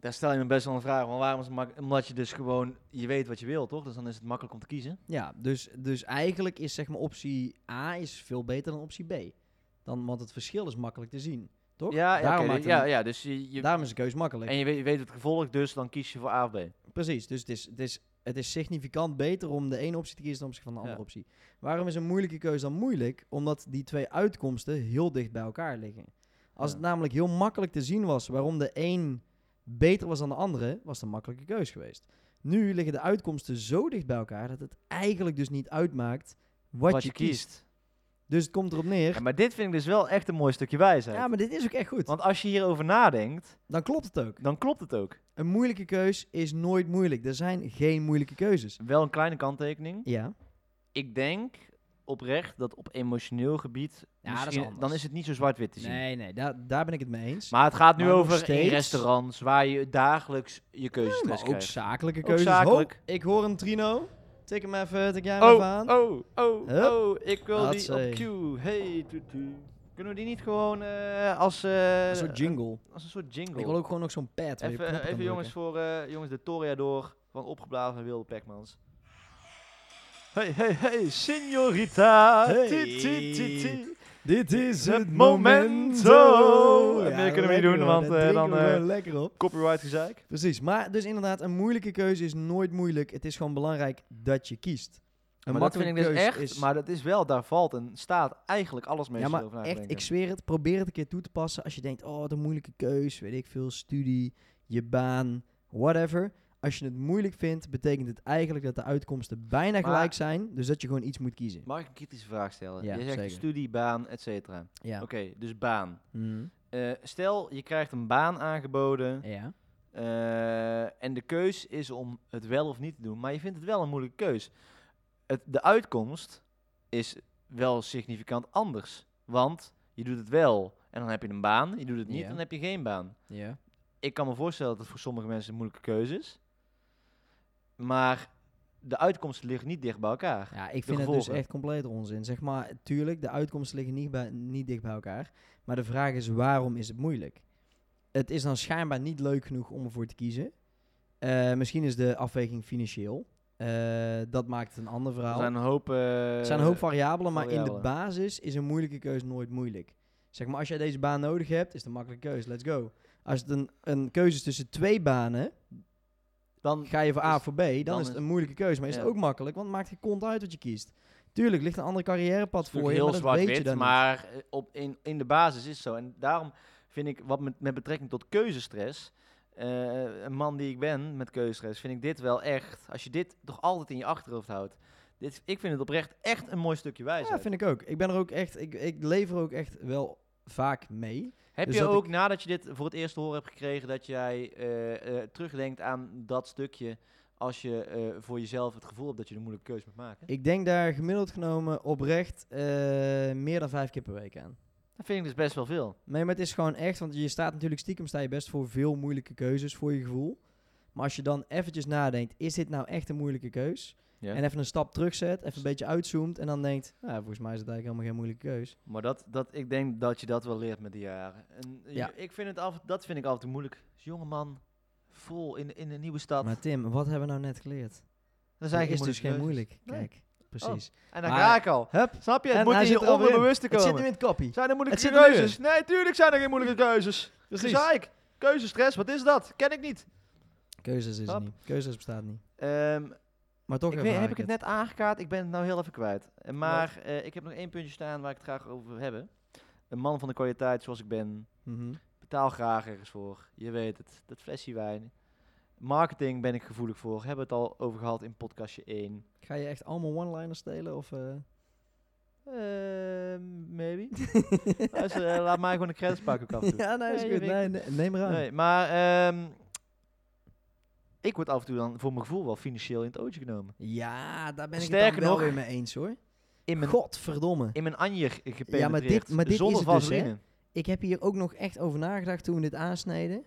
daar stel je me best wel een vraag, want waarom is het makkelijk? Omdat je dus gewoon, je weet wat je wil, toch? Dus dan is het makkelijk om te kiezen.
Ja, dus, dus eigenlijk is zeg maar optie A is veel beter dan optie B. Dan, want het verschil is makkelijk te zien, toch?
Ja, ja,
daarom,
oké,
maakt een-
ja, ja, dus je, je-
daarom is een keus makkelijk.
en je weet, je weet het gevolg, dus dan kies je voor A of B.
Precies, dus het is, het, is, het is significant beter om de ene optie te kiezen ten opzichte van de andere
Ja.
optie. Waarom is een moeilijke keuze dan moeilijk? Omdat die twee uitkomsten heel dicht bij elkaar liggen. Als
Ja.
het namelijk heel makkelijk te zien was waarom de een beter was dan de andere, was het een makkelijke keuze geweest. Nu liggen de uitkomsten zo dicht bij elkaar dat het eigenlijk dus niet uitmaakt wat, je, kiest. Dus het komt erop neer.
Ja, maar dit vind ik dus wel echt een mooi stukje wijsheid.
Ja, maar dit is ook echt goed.
Want als je hierover nadenkt,
Dan klopt het ook.
dan klopt het ook.
Een moeilijke keus is nooit moeilijk. Er zijn geen moeilijke keuzes.
Wel een kleine kanttekening.
Ja.
Ik denk oprecht dat op emotioneel gebied,
Ja, dat is
misschien-
anders.
dan is het niet zo zwart-wit te zien.
Nee, nee, daar, daar ben ik het mee eens.
Maar het gaat nu
Maar nog
over in
steeds-
restaurants waar je dagelijks je keuzes
Ja, maar
krijgt.
ook zakelijke
Ook
keuzes.
zakelijk.
Ho, ik hoor een trino. Tik hem even, tik jij hem even
Oh,
aan.
oh, oh,
Hup.
oh, ik wil die
Hatsé.
op cue. Hey, tutu. Kunnen we die niet gewoon eh, als, eh,
Een soort jingle.
als een soort jingle?
Ik wil ook gewoon nog zo'n pad. waar je op
even
knoppen kan
even jongens,
drukken.
voor, eh, jongens, de Toreador van opgeblazen wilde Pekmans. Hey, hey, hey, signorita.
Hey.
Ti, ti, ti, ti.
Dit is
Het
het
momento.
momento.
En meer kunnen we
lekker,
niet doen,
hoor.
want,
Daar
eh,
drinken
dan,
we
eh,
gewoon lekker op.
Copyright gezeik.
Precies, maar dus inderdaad, een moeilijke keuze is nooit moeilijk. Het is gewoon belangrijk dat je kiest. Een
maar dat vind ik
makkelijke
dus
keus
echt,
is-
maar dat is wel, daar valt en staat eigenlijk alles mee.
ja,
als je
maar
erover na gaat
echt, ik
denken.
zweer het, probeer het een keer toe te passen. Als je denkt, oh, wat een moeilijke keus, weet ik veel, studie, je baan, whatever. Als je het moeilijk vindt, betekent het eigenlijk dat de uitkomsten bijna
Maar-
gelijk zijn. Dus dat je gewoon iets moet kiezen.
Mag ik een kritische vraag stellen?
Ja,
je zegt
zeker.
studie, baan, et cetera.
Ja.
Oké, dus baan.
Mhm.
Eh, stel, je krijgt een baan aangeboden
ja.
eh, en de keus is om het wel of niet te doen, maar je vindt het wel een moeilijke keus. Het, de uitkomst is wel significant anders, want je doet het wel en dan heb je een baan, je doet het niet
Ja.
en dan heb je geen baan.
ja.
Ik kan me voorstellen dat het voor sommige mensen een moeilijke keuze is, maar de uitkomsten liggen niet dicht bij elkaar.
Ja, ik vind het dus
gevolgen.
echt compleet onzin. Zeg maar, tuurlijk, de uitkomsten liggen niet, bij, niet dicht bij elkaar. Maar de vraag is, waarom is het moeilijk? Het is dan schijnbaar niet leuk genoeg om ervoor te kiezen. Eh, misschien is de afweging financieel. Eh, dat maakt het een ander
Er
verhaal.
zijn een hoop, eh,
Nou. Er zijn een hoop variabelen, maar in de
variabelen.
basis is een moeilijke keuze nooit moeilijk. Zeg maar, als jij deze baan nodig hebt, is het een makkelijke keuze. Let's go. Als het een, een keuze is tussen twee banen,
dan
ga je voor A
Is-
of voor B, dan,
Dus dan
is het
is-
een moeilijke keuze. Maar is
ja.
het ook makkelijk, want het maakt je kont uit wat je kiest. Tuurlijk ligt een ander carrièrepad
Het is
voor je, maar
natuurlijk
dat
heel
weet je
zwart-wit,
dan
maar eh, op, in, in de basis is het zo. En daarom vind ik, wat met, met betrekking tot keuzestress, eh, een man die ik ben met keuzestress, vind ik dit wel echt, als je dit toch altijd in je achterhoofd houdt, dit, ik vind het oprecht echt een mooi stukje
niet.
wijsheid.
Ja, vind ik ook. Ik ben er ook echt, ik, ik leef er ook echt wel vaak mee.
Heb
dus
je
dat
ook, nadat je dit voor het eerst te horen hebt gekregen, dat jij eh, eh, terugdenkt aan dat stukje, als je eh, voor jezelf het gevoel hebt dat je een moeilijke keuze moet maken?
Ik denk daar gemiddeld genomen oprecht eh, meer dan vijf keer per week aan.
Dat vind ik dus best wel veel.
Nee, maar het is gewoon echt, want je staat natuurlijk stiekem sta je best voor veel moeilijke keuzes voor je gevoel. Maar als je dan eventjes nadenkt, is dit nou echt een moeilijke keus?
Ja.
En even een stap terugzet, even een beetje uitzoomt en dan denkt, nou, volgens mij is het eigenlijk helemaal geen moeilijke keus.
Maar dat, dat, ik denk dat je dat wel leert met de jaren. En je-
Ja.
ik vind het af, dat vind ik altijd moeilijk. Als jonge man, vol in, in een nieuwe stad.
Maar Tim, wat hebben we nou net geleerd?
dan
Er
zijn
is dus geen
moeilijke
moeilijk.
Nee.
Kijk, precies.
keuzes. En dan
Maar-
ga ik al.
Hup,
Snap je? Het
En
moet
hij
in je
zit er alweer in.
onderbewuste
het zit
komen.
hem in het koppie.
Zijn er moeilijke
zit er nu
keuzes? Nee, tuurlijk zijn er geen moeilijke keuzes.
Precies.
Gezeik. Keuzestress, wat is dat? Ken ik niet.
Keuzes is er
Hop.
niet. Keuzes bestaat niet.
Ehm,
Maar toch
ik
ervaar
weet, heb
ik
ik het net aangekaart? Ik ben het nou heel even kwijt. Eh, Maar eh, ik heb nog één puntje staan waar ik het graag over wil hebben. Een man van de kwaliteit zoals ik ben.
Mhm.
Betaal graag ergens voor. Je weet het. Dat flesje wijn. Marketing ben ik gevoelig voor. Hebben we het al over gehad in podcastje 1.
Ga je echt allemaal one-liners stelen? Of, eh? Ehm,
maybe. Luister, eh, laat mij gewoon de credits pakken ook af en toe.
ja, nee, is
Nee, je
goed.
weet
Nee, nee, neem maar aan.
Nee, maar ehm, ik word af en toe dan voor mijn gevoel wel financieel in het ootje genomen.
Ja, daar ben ik het
Sterker
dan wel
nog-
weer mee eens hoor.
In mijn,
Godverdomme.
in mijn anjer gepenetreerd.
Ja, maar dit- maar dit
zonder
is het dus, hè?
vaseline.
Ik heb hier ook nog echt over nagedacht toen we dit aansneden.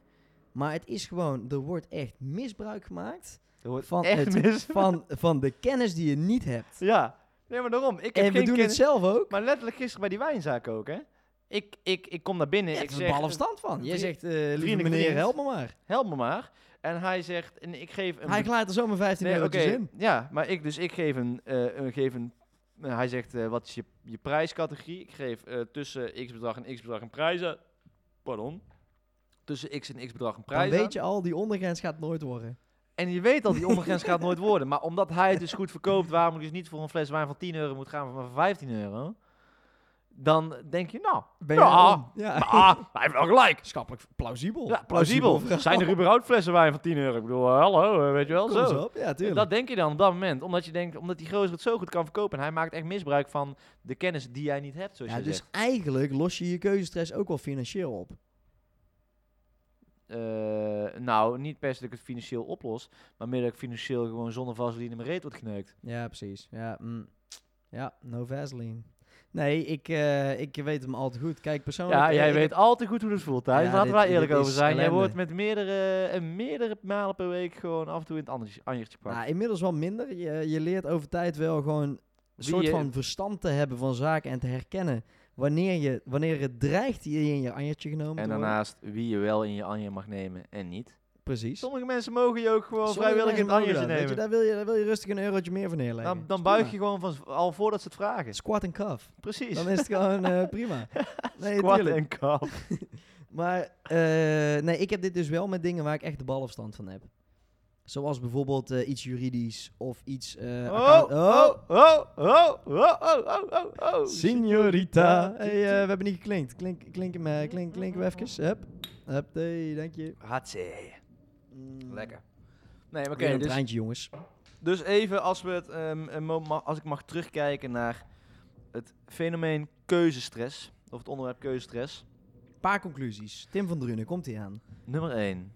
Maar het is gewoon, er wordt echt misbruik gemaakt
Er wordt
van,
echt
het-
mis.
van, van de kennis die je niet hebt.
Ja, nee, maar daarom. Ik heb
en we
geen
doen
kennis-
het zelf ook.
Maar letterlijk gisteren bij die wijnzaak ook, hè. Ik, ik, ik kom naar binnen.
Je
ik
hebt er
zeg,
ballen verstand van. Jij
Drie-
zegt, eh lieve
vriendelijk
meneer,
vriend.
help me maar.
help me maar. En hij zegt, en ik geef een...
Hij klaart er zomaar 15
nee,
euro
oké,
in.
Ja, maar ik dus, ik geef een, eh, een- geef een eh, hij zegt, eh, wat is je, je prijscategorie? Ik geef eh, tussen x bedrag en x bedrag een prijs aan. Pardon. Tussen x en x bedrag een
Dan
prijs aan.
weet je al, die ondergrens gaat nooit worden.
En je weet al, die ondergrens gaat nooit worden. Maar omdat hij het dus goed verkoopt, waarom ik dus niet voor een fles wijn van 10 euro moet gaan, maar van 15 euro. dan denk je, nou,
Ben
Ja.
erom? ja.
ah, hij heeft wel gelijk.
Schappelijk Oh, plausibel.
Ja, plausibel.
verhaal.
Zijn er überhaupt flessen wijn van 10 euro? Ik bedoel, eh, hallo, eh, weet je wel,
Kom eens
zo.
op. Ja, tuurlijk.
Dat denk je dan op dat moment, omdat je denkt, omdat die gozer het zo goed kan verkopen. En hij maakt echt misbruik van de kennis die jij niet hebt, zoals
ja,
je
dus
zegt.
eigenlijk los je je keuzestress ook wel financieel op.
Eh, nou, niet per se dat ik het financieel oplos, maar meer dat ik financieel gewoon zonder vaseline in mijn reet wordt geneukt.
Ja, precies. Ja, mm. ja no Vaseline. Nee, ik, eh, ik weet hem al te goed. Kijk, persoonlijk...
Ja,
eh,
jij
ik
weet al te goed hoe dat voelt, Thijs.
Ja,
Laten we
dit-
daar eerlijk
dit
over
is
zijn. Jij
ellende.
wordt met meerdere, eh, meerdere malen per week gewoon af en toe in het anjer- anjertje
heb-
gepakt.
Nou, inmiddels wel minder. Je, je leert over tijd wel gewoon een
Wie
soort
je-
van verstand te hebben van zaken en te herkennen wanneer, je, wanneer het dreigt je in je anjertje genomen
en
te worden.
daarnaast wie je wel in je anje mag nemen en niet.
Precies.
Sommige mensen mogen je ook gewoon
Sommige
vrijwillig in
mensen
het
mogen
anjertje
dat, Weet je,
nemen.
daar, wil je, daar wil je rustig een eurotje meer van neerleggen.
Dan,
Dat
dan
is
buig
prima.
je gewoon van, al voordat ze het vragen.
Squat en cuff.
Precies.
Dan is het gewoon eh, prima. Nee,
Kwart
tuurlijk.
en kap.
Maar eh, nee, ik heb dit dus wel met dingen waar ik echt de balafstand van heb. Zoals bijvoorbeeld eh, iets juridisch of iets. eh,
Oh,
account-
oh, oh, oh, oh, oh, oh, oh, oh.
Signorita. Hey, eh, we hebben niet geklinkt. Klink, klinken we klink, klinken we even. Hup. Hup, hey, dank je.
Hatsie.
Mm.
Lekker. Nee, maar
Weer
oké,
een
dus,
treintje, jongens.
dus even als, we het, ehm, een mo- ma- als ik mag terugkijken naar het fenomeen keuzestress, of het onderwerp keuzestress.
Paar conclusies. Tim van Drunen, komt hij aan?
Nummer 1.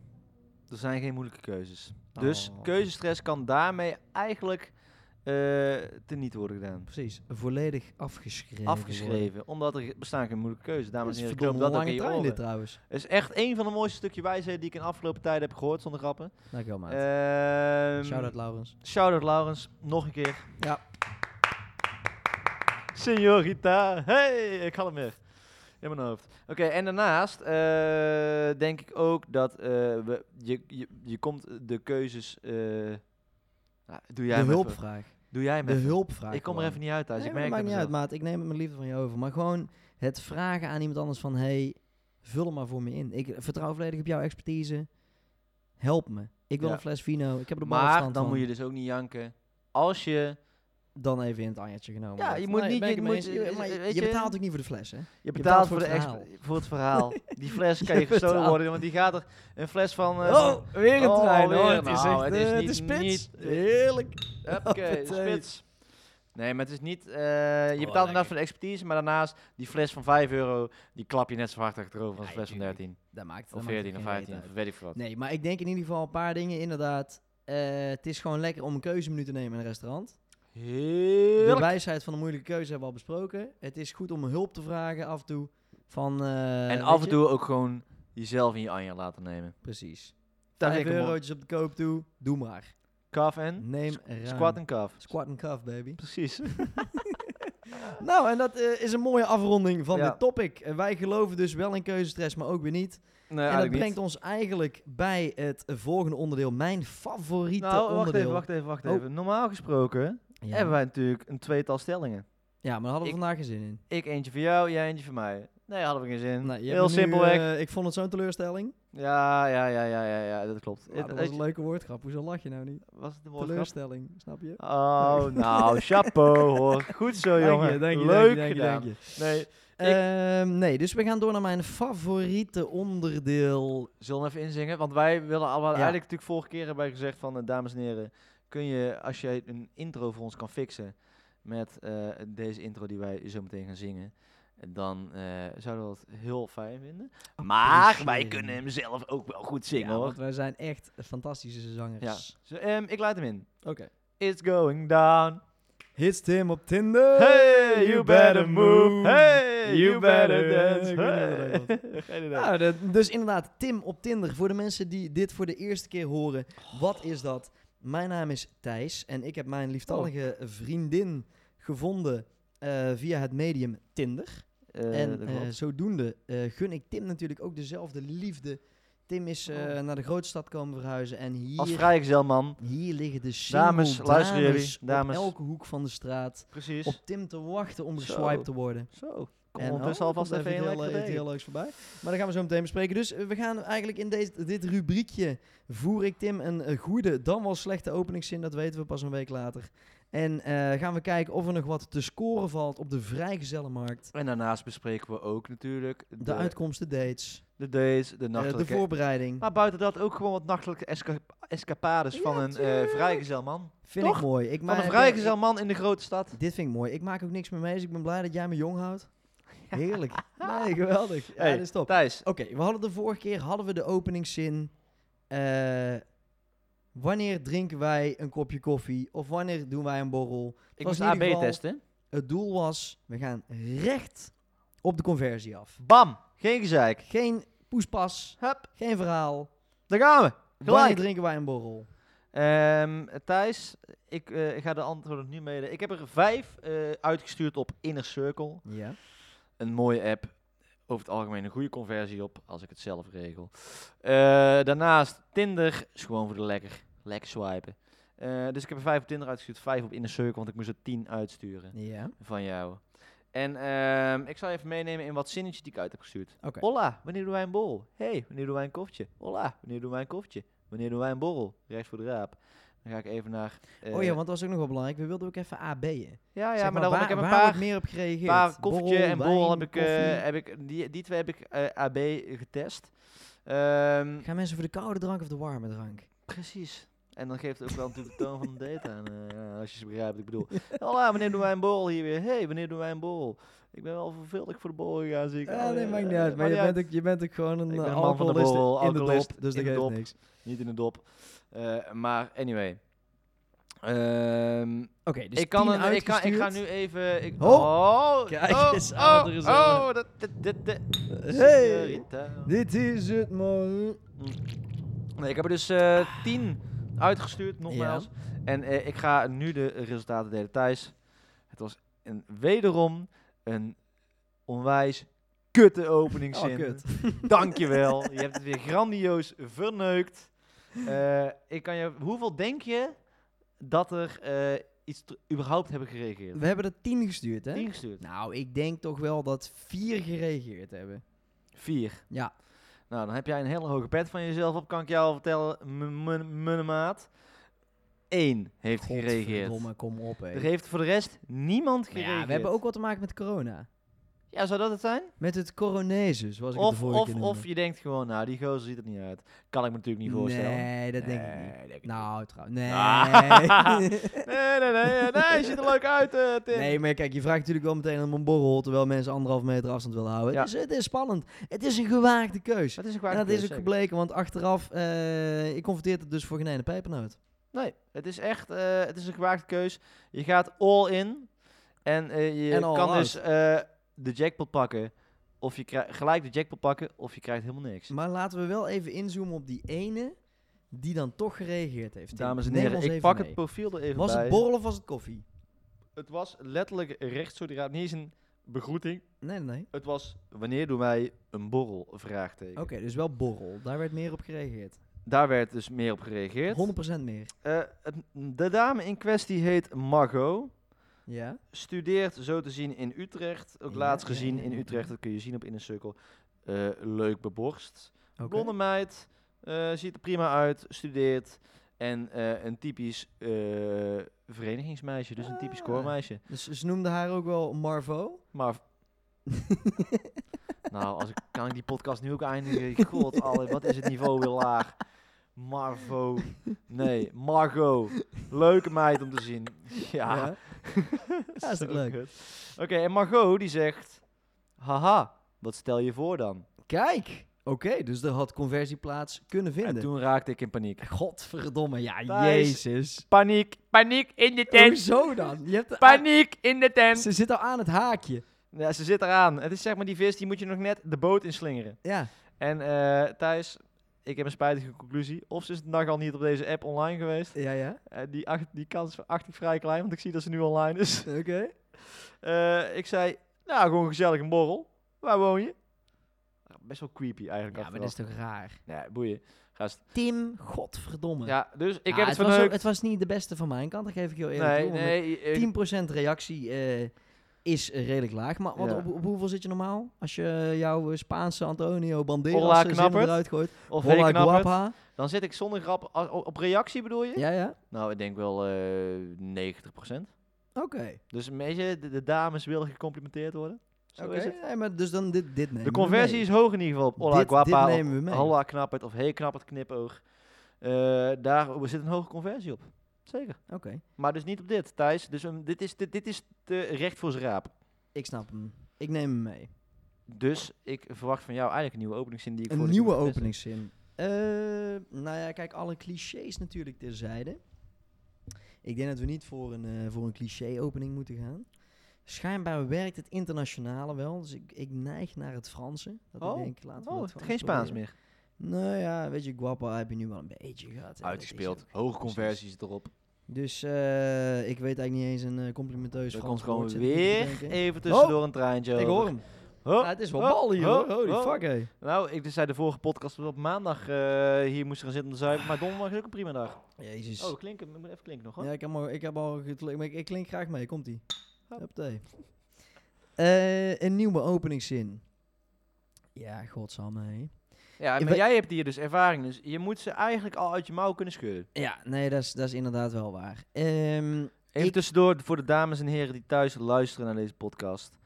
Er zijn geen moeilijke keuzes. Dus
Oh.
keuzestress kan daarmee eigenlijk eh teniet worden gedaan.
Precies. Volledig afgeschreven.
afgeschreven. Omdat er bestaan geen moeilijke keuzes.
worden.
Dames en
Dit is
heren, ik hoop
verdomme
dat ook
lange
in je
trein
oren.
dit trouwens.
Het is echt een van de mooiste stukje wijsheid die ik in de afgelopen tijden heb gehoord, zonder grappen.
Dankjewel, Nou, maat.
Ehm
Shout-out, Laurens.
shout-out Laurens, nog een keer.
Ja.
Signorita, hey, ik had hem weer. In mijn hoofd. Oké, en daarnaast eh, denk ik ook dat eh, we, je, je, je komt de keuzes... eh, nou, doe jij
de
hem even.
hulpvraag.
Doe jij hem
De
even.
hulpvraag.
Ik kom er
gewoon.
even niet uit thuis.
Nee,
Dus
maar
ik merk
maakt
het
niet uit,
mezelf.
maat. Ik neem het mijn liefde van je over. Maar gewoon het vragen aan iemand anders van... hey, vul hem maar voor me in. Ik vertrouw volledig op jouw expertise. Help me. Ik wil
Ja.
een fles vino. Ik heb er een
Maar dan
balafstand van.
moet je dus ook niet janken. Als je...
Dan even in het anjertje genomen.
Ja,
wordt.
je moet
Nee,
niet-
ben ik
je
het mee
moet-
eens.
eh,
maar je,
weet je-
betaalt ook niet voor de fles, hè?
Je
betaalt
betaalt,
voor
voor, de
het
exp- voor het verhaal. Die fles kan
Je
je gestolen
betaalt.
worden, want die gaat er... Een fles van... eh, van-
oh, weer een
oh,
trein.
weer.
hoor. het is
Nou,
echt, eh,
het is
het
niet-
is spits.
niet-
Heerlijk.
Hoppakee,
Hoppatee.
spits. Nee, maar het is niet... eh, je
Oh,
betaalt
lekker.
inderdaad voor de expertise, maar daarnaast... Die fles van 5 euro, die klap je net zo hard achterover als
Ja,
een fles van
tuurlijk.
13.
Dat maakt dat
Of
maakt
14 of
geen reet
15,
uit.
of weet ik veel wat.
Nee, maar ik denk in ieder geval een paar dingen. Inderdaad, eh, het is gewoon lekker om een keuzemenu te nemen in een restaurant. De
Heerlijk.
wijsheid van de moeilijke keuze hebben we al besproken. Het is goed om hulp te vragen af en toe. Van, eh,
En
weet
af en
je?
toe ook gewoon jezelf in je anja laten nemen.
Precies.
Daar
Vijf
vind ik hem op.
eurotjes op de koop toe. Doe maar.
Kaf en?
Neem ruim.
Squat en kaf.
Squat en cuff, baby.
Precies.
Nou, en dat eh, is een mooie afronding van
Ja.
dit topic. Eh, wij geloven dus wel in keuzestress, maar ook weer niet.
Nee,
en dat
eigenlijk
brengt
niet.
ons eigenlijk bij het volgende onderdeel. Mijn favoriete
Nou, wacht
onderdeel.
even, wacht even, wacht
Oh.
even. Normaal gesproken...
Ja.
hebben wij natuurlijk een tweetal stellingen.
ja, maar daar hadden we
Ik-
vandaag geen zin in.
Ik eentje voor jou, jij eentje voor mij. Nee, hadden we geen
Nou,
zin.
je hebt
Heel
me nu,
simpelweg.
eh, ik vond het zo'n teleurstelling.
ja, ja, ja, ja, ja, ja, dat klopt.
Maar
Het-
dat
het-
was een leuke woordgrap. Hoezo lach je nou niet?
was het de woordgrap?
Teleurstelling, snap je?
Oh, nou, chapeau hoor. Goed zo,
Dank
jongen.
je, dank je,
Leuk
dank je, dank je,
gedaan.
dank je.
Nee,
Ehm, nee, dus we gaan door naar mijn favoriete onderdeel.
zullen we even inzingen? Want wij willen allemaal...
Ja.
Eigenlijk natuurlijk vorige keer hebben wij gezegd van... eh, dames en heren, kun je, als jij een intro voor ons kan fixen... met eh, deze intro die wij zo meteen gaan zingen... dan eh, zouden we dat heel fijn vinden. Maar wij
Appreciëren.
kunnen hem zelf ook wel goed zingen,
Ja,
hoor.
want wij zijn echt fantastische zangers.
Zo, ehm, ik leid hem in.
Oké.
It's going down.
Hits Tim op Tinder.
Hey, you better move. Hey, you better dance.
Ik weet niet wat
Hey. Geen idee.
Nou, dat- dus inderdaad, Tim op Tinder. Voor de mensen die dit voor de eerste keer horen, wat is dat? Mijn naam is Thijs en ik heb mijn lieftallige vriendin gevonden eh, via het medium Tinder.
Eh,
En
dat
eh,
klopt.
zodoende eh, gun ik Tim natuurlijk ook dezelfde liefde. Tim is eh,
Oh.
naar de grootstad komen verhuizen en hier,
Als vrijgezel man.
hier liggen de single
Dames,
dames,
luisteren jullie,
op
dames.
elke hoek van de straat
Prees.
op Tim te wachten om
Zo.
geswiped te worden.
Zo. Kom
En
ondertussen
oh,
alvast
komt
even
iets
heel
heel, eh, iets
lekker
heel leuks voorbij. Maar dat gaan we zo meteen bespreken. Dus eh, we gaan eigenlijk in deze, dit rubriekje voer ik Tim een eh, goede, dan wel slechte openingszin. Dat weten we pas een week later. En eh, gaan we kijken of er nog wat te scoren valt op de vrijgezellenmarkt.
En daarnaast bespreken we ook natuurlijk
De,
de,
uitkomsten, dates,
de days, de
eh, de
nachtelijke...
voorbereiding.
maar buiten dat ook gewoon wat nachtelijke esca- escapades
Ja,
van een eh
tuurlijk.
vrijgezel man.
Vind
toch?
ik mooi. Ik
Van
maak-
een
ik-
vrijgezel man in de grote stad.
Dit vind ik mooi. Ik maak ook niks meer mee, dus ik ben blij dat jij me jong houdt. Heerlijk. Nee, geweldig. Ja,
Hey,
dit is top.
Thijs,
Oké, we hadden de vorige keer hadden we de openingszin. eh, wanneer drinken wij een kopje koffie? Of wanneer doen wij een borrel?
ik
was
moest
in ieder
AB
geval-
testen.
Het doel was, we gaan recht op de conversie af.
Bam! Geen gezeik.
Geen poespas,
Hup,
geen verhaal.
daar gaan we.
Wanneer
Gelijk.
drinken wij een borrel?
Ehm, Thijs, ik eh, ga de antwoorden nu mede. Ik heb er vijf eh, uitgestuurd op Inner Circle.
Ja.
Een mooie app. Over het algemeen een goede conversie op, als ik het zelf regel. Eh, daarnaast Tinder is gewoon voor de lekker. Lekker swipen. Eh, dus ik heb er vijf op Tinder uitgestuurd, vijf op Inner Circle, want ik moest er tien uitsturen
Ja.
van jou. En ehm, ik zal je even meenemen in wat zinnetjes die ik uit heb gestuurd.
Oké.
Hola, wanneer doen wij een borrel? hey, wanneer doen wij een koffertje? Hola, wanneer doen wij een koffertje? Wanneer doen wij een borrel? Rechts voor de raap. Dan ga ik even naar... eh,
oh ja, want dat was ook nog wel belangrijk. We wilden ook even AB'en.
ja, Ah ja,
Zeg
maar daarom,
waar,
ik heb een
waar
paar,
wordt meer op gereageerd.
paar koffertje
Borrel,
en borrel
wijn,
heb ik, eh,
koffie.
heb ik die, die twee heb ik eh, AB getest. Ehm,
Gaan mensen voor de koude drank of de warme drank?
precies. En dan geeft het ook wel natuurlijk de toon van de date aan, eh, ja, als je ze begrijpt wat ik bedoel. Hola, wanneer doen wij een borrel hier weer? hey, wanneer doen wij een borrel? Ik ben wel verveeld dat ik voor de borrel gegaan, zie ik.
Ja,
Oh,
nee,
eh,
maakt niet uit. Maar
maakt
je
niet uit.
bent, ook, je bent ook gewoon een
Ik ben
eh,
een man van de
alcoholist
borrel,
in de
alcoholist
dop. Dus
in
dat
de
geeft
dop.
niks. Oké,
Niet in de dop. Eh, maar anyway. Ehm,
dus
ik, kan
tien
een, ik, kan, ik ga
uitgestuurd.
nu even. Ik,
Oh,
kijk
kijk eens aan,
oh,
er is
oh,
al
dat, dit, dit, dit. eh,
Hey,
Señorita.
Eh, dit is het man.
Nee, ik heb er dus eh, tien uitgestuurd, nogmaals. En eh, ik ga nu de resultaten delen. Thijs, het was een, wederom een onwijs kutte
Oh,
openingszin.
kut.
Dankjewel. Je hebt het weer grandioos verneukt. Eh, ik kan je, hoeveel denk je dat er eh, iets ter- überhaupt hebben gereageerd?
We hebben er tien gestuurd, hè?
Ingestuurd.
Nou, ik denk toch wel dat vier gereageerd hebben.
Vier.
Ja.
Nou, dan heb jij een hele hoge pet van jezelf op, kan ik jou al vertellen, m- m- mijn maat. Eén heeft gereageerd.
Godverdomme, kom op, hé.
Er heeft voor de rest niemand
Maar
gereageerd.
ja, we hebben ook wat te maken met corona.
Ja, zou dat het zijn?
Met het coronezus, zoals ik het de
Of,
vorige
of,
keer
of je denkt gewoon, nou, die gozer ziet er niet uit. Kan ik me natuurlijk niet
noemde.
voorstellen.
Nee, dat denk ik
Nee,
niet.
denk ik
Nou, trouwens, nee.
Ah. Nee, nee, nee, nee, nee, je ziet er leuk uit, eh, Tim.
nee, maar kijk, je vraagt natuurlijk wel meteen om een borrel, terwijl mensen anderhalf meter afstand willen houden.
Ja.
Dus het is spannend. Het is een gewaagde keus.
Dat is een
En
kwaad
dat
keus,
is ook
zeker.
gebleken, want achteraf, eh ik confronteer het dus voor geen ene pepernoot.
Nee, het is echt eh, het is een gewaagde keus. Je gaat all in en eh, je
En all
kan
out.
dus eh, de jackpot pakken. Of je krijgt gelijk de jackpot pakken, of je krijgt helemaal niks.
Maar laten we wel even inzoomen op die ene die dan toch gereageerd heeft. Tim,
Dames en
neem
heren,
ons
ik
even
pak
mee.
het profiel er even
Was
bij.
het borrel of was het koffie?
Het was letterlijk recht zo raad. Niet eens een begroeting.
Nee, nee, nee.
Het was, wanneer doen wij een borrel? Vraagteken.
Oké, dus wel borrel. Daar werd meer op gereageerd.
Daar werd dus meer op gereageerd.
100% meer.
Eh, het- de dame in kwestie heet Margot.
Ja.
studeert zo te zien in Utrecht. Ook
Ja,
laatst
ja,
gezien
ja,
in
ja,
Utrecht,
ja.
dat kun je zien op In een Cirkel. Eh, leuk beborst.
Oké.
Blonde meid, eh, ziet er prima uit, studeert. En eh, een typisch eh, verenigingsmeisje, dus een typisch
Ah.
koormeisje.
Dus ze noemde haar ook wel Marvo.
Maar... nou, als ik, kan ik die podcast nu ook eindigen? God, alle, wat is het niveau weer laag. Marvo. Nee, Margot. Leuke meid om te zien. ja.
Ja, is toch
Zo
leuk?
kut. Oké, en Margot die zegt... Haha, wat stel je voor dan?
Kijk. Oké, dus er had conversie plaats kunnen
En
vinden.
toen raakte ik in paniek.
Godverdomme, ja,
Thijs.
jezus.
Paniek, paniek in de tent.
Hoezo dan? Je hebt de aan-
Paniek in de tent.
Oh, Ze zit al aan het haakje.
Ja, ze zit eraan. Het is zeg maar die vis, die moet je nog net de boot inslingeren.
Ja.
En eh Thijs, ik heb een spijtige conclusie. Of ze is de dag al niet op deze app online geweest.
Ja, ja.
Eh, die, acht, die kans acht ik vrij klein, want ik zie dat ze nu online is.
Oké.
Eh, ik zei, nou gewoon gezellig een borrel. Waar woon je? Best wel creepy eigenlijk.
Ja, maar dat is toch raar.
Nee, boeien. Gast.
Tim, godverdomme.
Ja, dus ik
Ah,
heb het
was ook-
verneukt.
het was niet de beste van mijn kant, dat geef ik heel eerlijk
Nee, eh,
toe, want
nee. ik-
10% reactie eh, is redelijk laag. Maar wat,
Ja.
op, op hoeveel zit je normaal? Als je jouw Spaanse Antonio Banderas
Olla
eh, zin
Knappert.
eruit gooit.
Of
Olla
Henk Knappert.
Guapa.
Dan zit ik zonder grap... als- op op reactie bedoel je?
Ja, ja.
Nou, ik denk wel eh 90%.
Oké.
Dus een beetje, de, de dames willen gecomplimenteerd worden. Zo
Oké.
is het.
Nee, maar dus dan dit, dit nemen
De
we
conversie
mee.
is hoog in ieder geval op Ola
Dit-
Guapa,
dit nemen we mee.
op Holla Knappert of Hey Knappert Knipoog. Eh daar zit een hoge conversie op. Zeker.
Oké.
Maar dus niet op dit, Thijs. Dus een- dit, is, dit, dit is te recht voor zijn raap.
Ik snap hem. Ik neem hem mee.
Dus ik verwacht van jou eigenlijk een nieuwe openingszin die ik
Een
voor
nieuwe openingszin. Eh, nou ja, kijk, alle clichés natuurlijk terzijde. Ik denk dat we niet voor een, eh, voor een cliché-opening moeten gaan. Schijnbaar werkt het internationale wel, dus ik, ik neig naar het Franse. Dat
Oh,
ik denk, laten we
Oh,
dat
het-
gewoon
geen Spaans
proberen.
meer.
Nou ja, weet je, Guapa heb je nu wel een beetje
eh,
gehad. hè.
Uitgespeeld,
Dat is ook-
hoge
precies.
conversies erop.
Dus eh, ik weet eigenlijk niet eens een eh, complimenteus
Er
Frans
komt gewoon
woord, zit ik nu te
weer
bedenken.
even tussendoor een traantje
Ik
over.
hoor hem.
Ho,
Ah, het is wel
ho,
bal hier,
ho,
hoor. Holy
ho.
fuck, hé.
Nou, ik dus zei de vorige podcast dat we op maandag eh, hier moesten gaan zitten om te zuipen, maar donderdag is ook een prima dag.
Jezus.
Oh, klinken, ik moet even klinken nog hoor.
Ja, ik heb al, ik heb al gekl- maar ik, ik klink graag mee. Komt ie.
Hop.
Huppatee. Eh, een nieuwe openingszin. Ja, godsamme. hè.
Ja,
Ik
maar
ben-
jij hebt hier dus ervaring, dus je moet ze eigenlijk al uit je mouw kunnen schudden.
Ja, nee, dat is, dat is inderdaad wel waar. Ehm,
Even
Ik-
tussendoor voor de dames en heren die thuis luisteren naar deze podcast.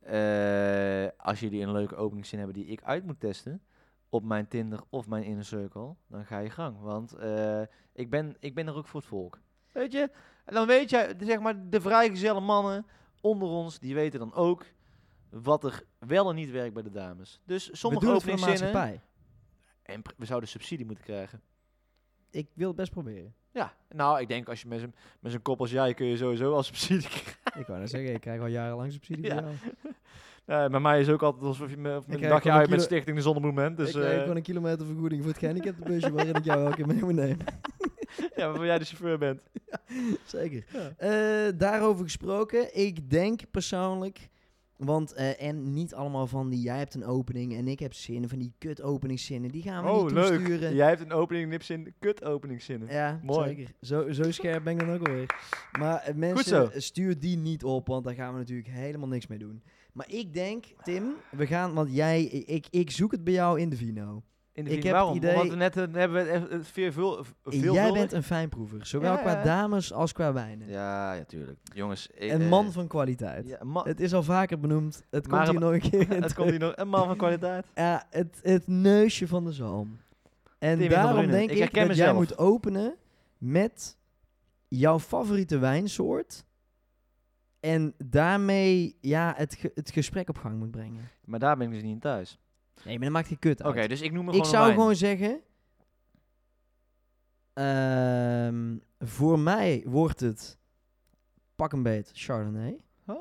Eh, als jullie een leuke openingszin hebben die ik uit moet testen op mijn Tinder of mijn Inner Circle, dan ga je gang. Want eh, ik, ben, ik ben er ook voor het volk. Weet je? En dan weet jij, zeg maar, de vrijgezelle mannen onder ons, die weten dan ook wat er wel en niet werkt bij de dames. Dus
we
sommige
doen het voor de
openingszinnen...
maatschappij.
En pr- we zouden subsidie moeten krijgen.
Ik wil het best proberen.
Ja, nou, ik denk als je met zo'n met zo'n kop als jij kun je sowieso als subsidie krijgen.
ik wou net zeggen, ik krijg al jarenlang subsidie
Ja.
voor jou.
Nee, bij mij is ook altijd alsof je me, of met een
krijg
dagje
gewoon
uit
een
met
kilo-
Stichting de Zonnemoment. Dus
ik krijg
eh,
gewoon een kilometervergoeding voor het gehandicaptenbusje waarin ik jou elke keer mee moet nemen.
ja, waarvan jij de chauffeur bent.
Zeker.
Ja.
Eh, daarover gesproken, ik denk persoonlijk... Want, eh, en niet allemaal van die, jij hebt een opening en ik heb zinnen, van die kut openingszinnen. Die gaan we
Oh,
niet
leuk.
toesturen. Eh,
Jij hebt een opening nipzin, kut openingszinnen.
Ja,
Mooi.
zeker. Zo, zo scherp ben ik dan ook alweer. Maar eh,
zo.
mensen, eh, stuur die niet op, want daar gaan we natuurlijk helemaal niks mee doen. Maar ik denk, Tim, we gaan, want jij, ik, ik zoek het bij jou in de Vino.
In de
Ik heb
zin,
het
waarom?
idee-
Want we net eh, hebben we het even- het eh, veelvul-
En
veelvuldig.
jij bent een fijnproever, zowel
Ja,
qua
ja.
dames als qua wijnen.
Ja, natuurlijk. Jongens. ik,
Een
eh,
man van kwaliteit.
ja, een man-
Het is al vaker benoemd, het
Oh. Maar
komt hier
het-
nog een keer in.
het komt hier nog. Een man van kwaliteit.
Ja, het, het neusje van de zalm. En
Timmy van
daarom
Brunen.
denk
Ik
ik, dat
herken
jij
mezelf.
moet openen met jouw favoriete wijnsoort. En daarmee ja, het, ge- het gesprek op gang moet brengen.
Maar daar ben ik dus niet in thuis.
Nee, maar dat maakt geen kut
Oké,
uit.
dus ik noem me
ik
gewoon
zou
een wijn.
gewoon zeggen... ehm, voor mij wordt het pak een beet Chardonnay.
Oh,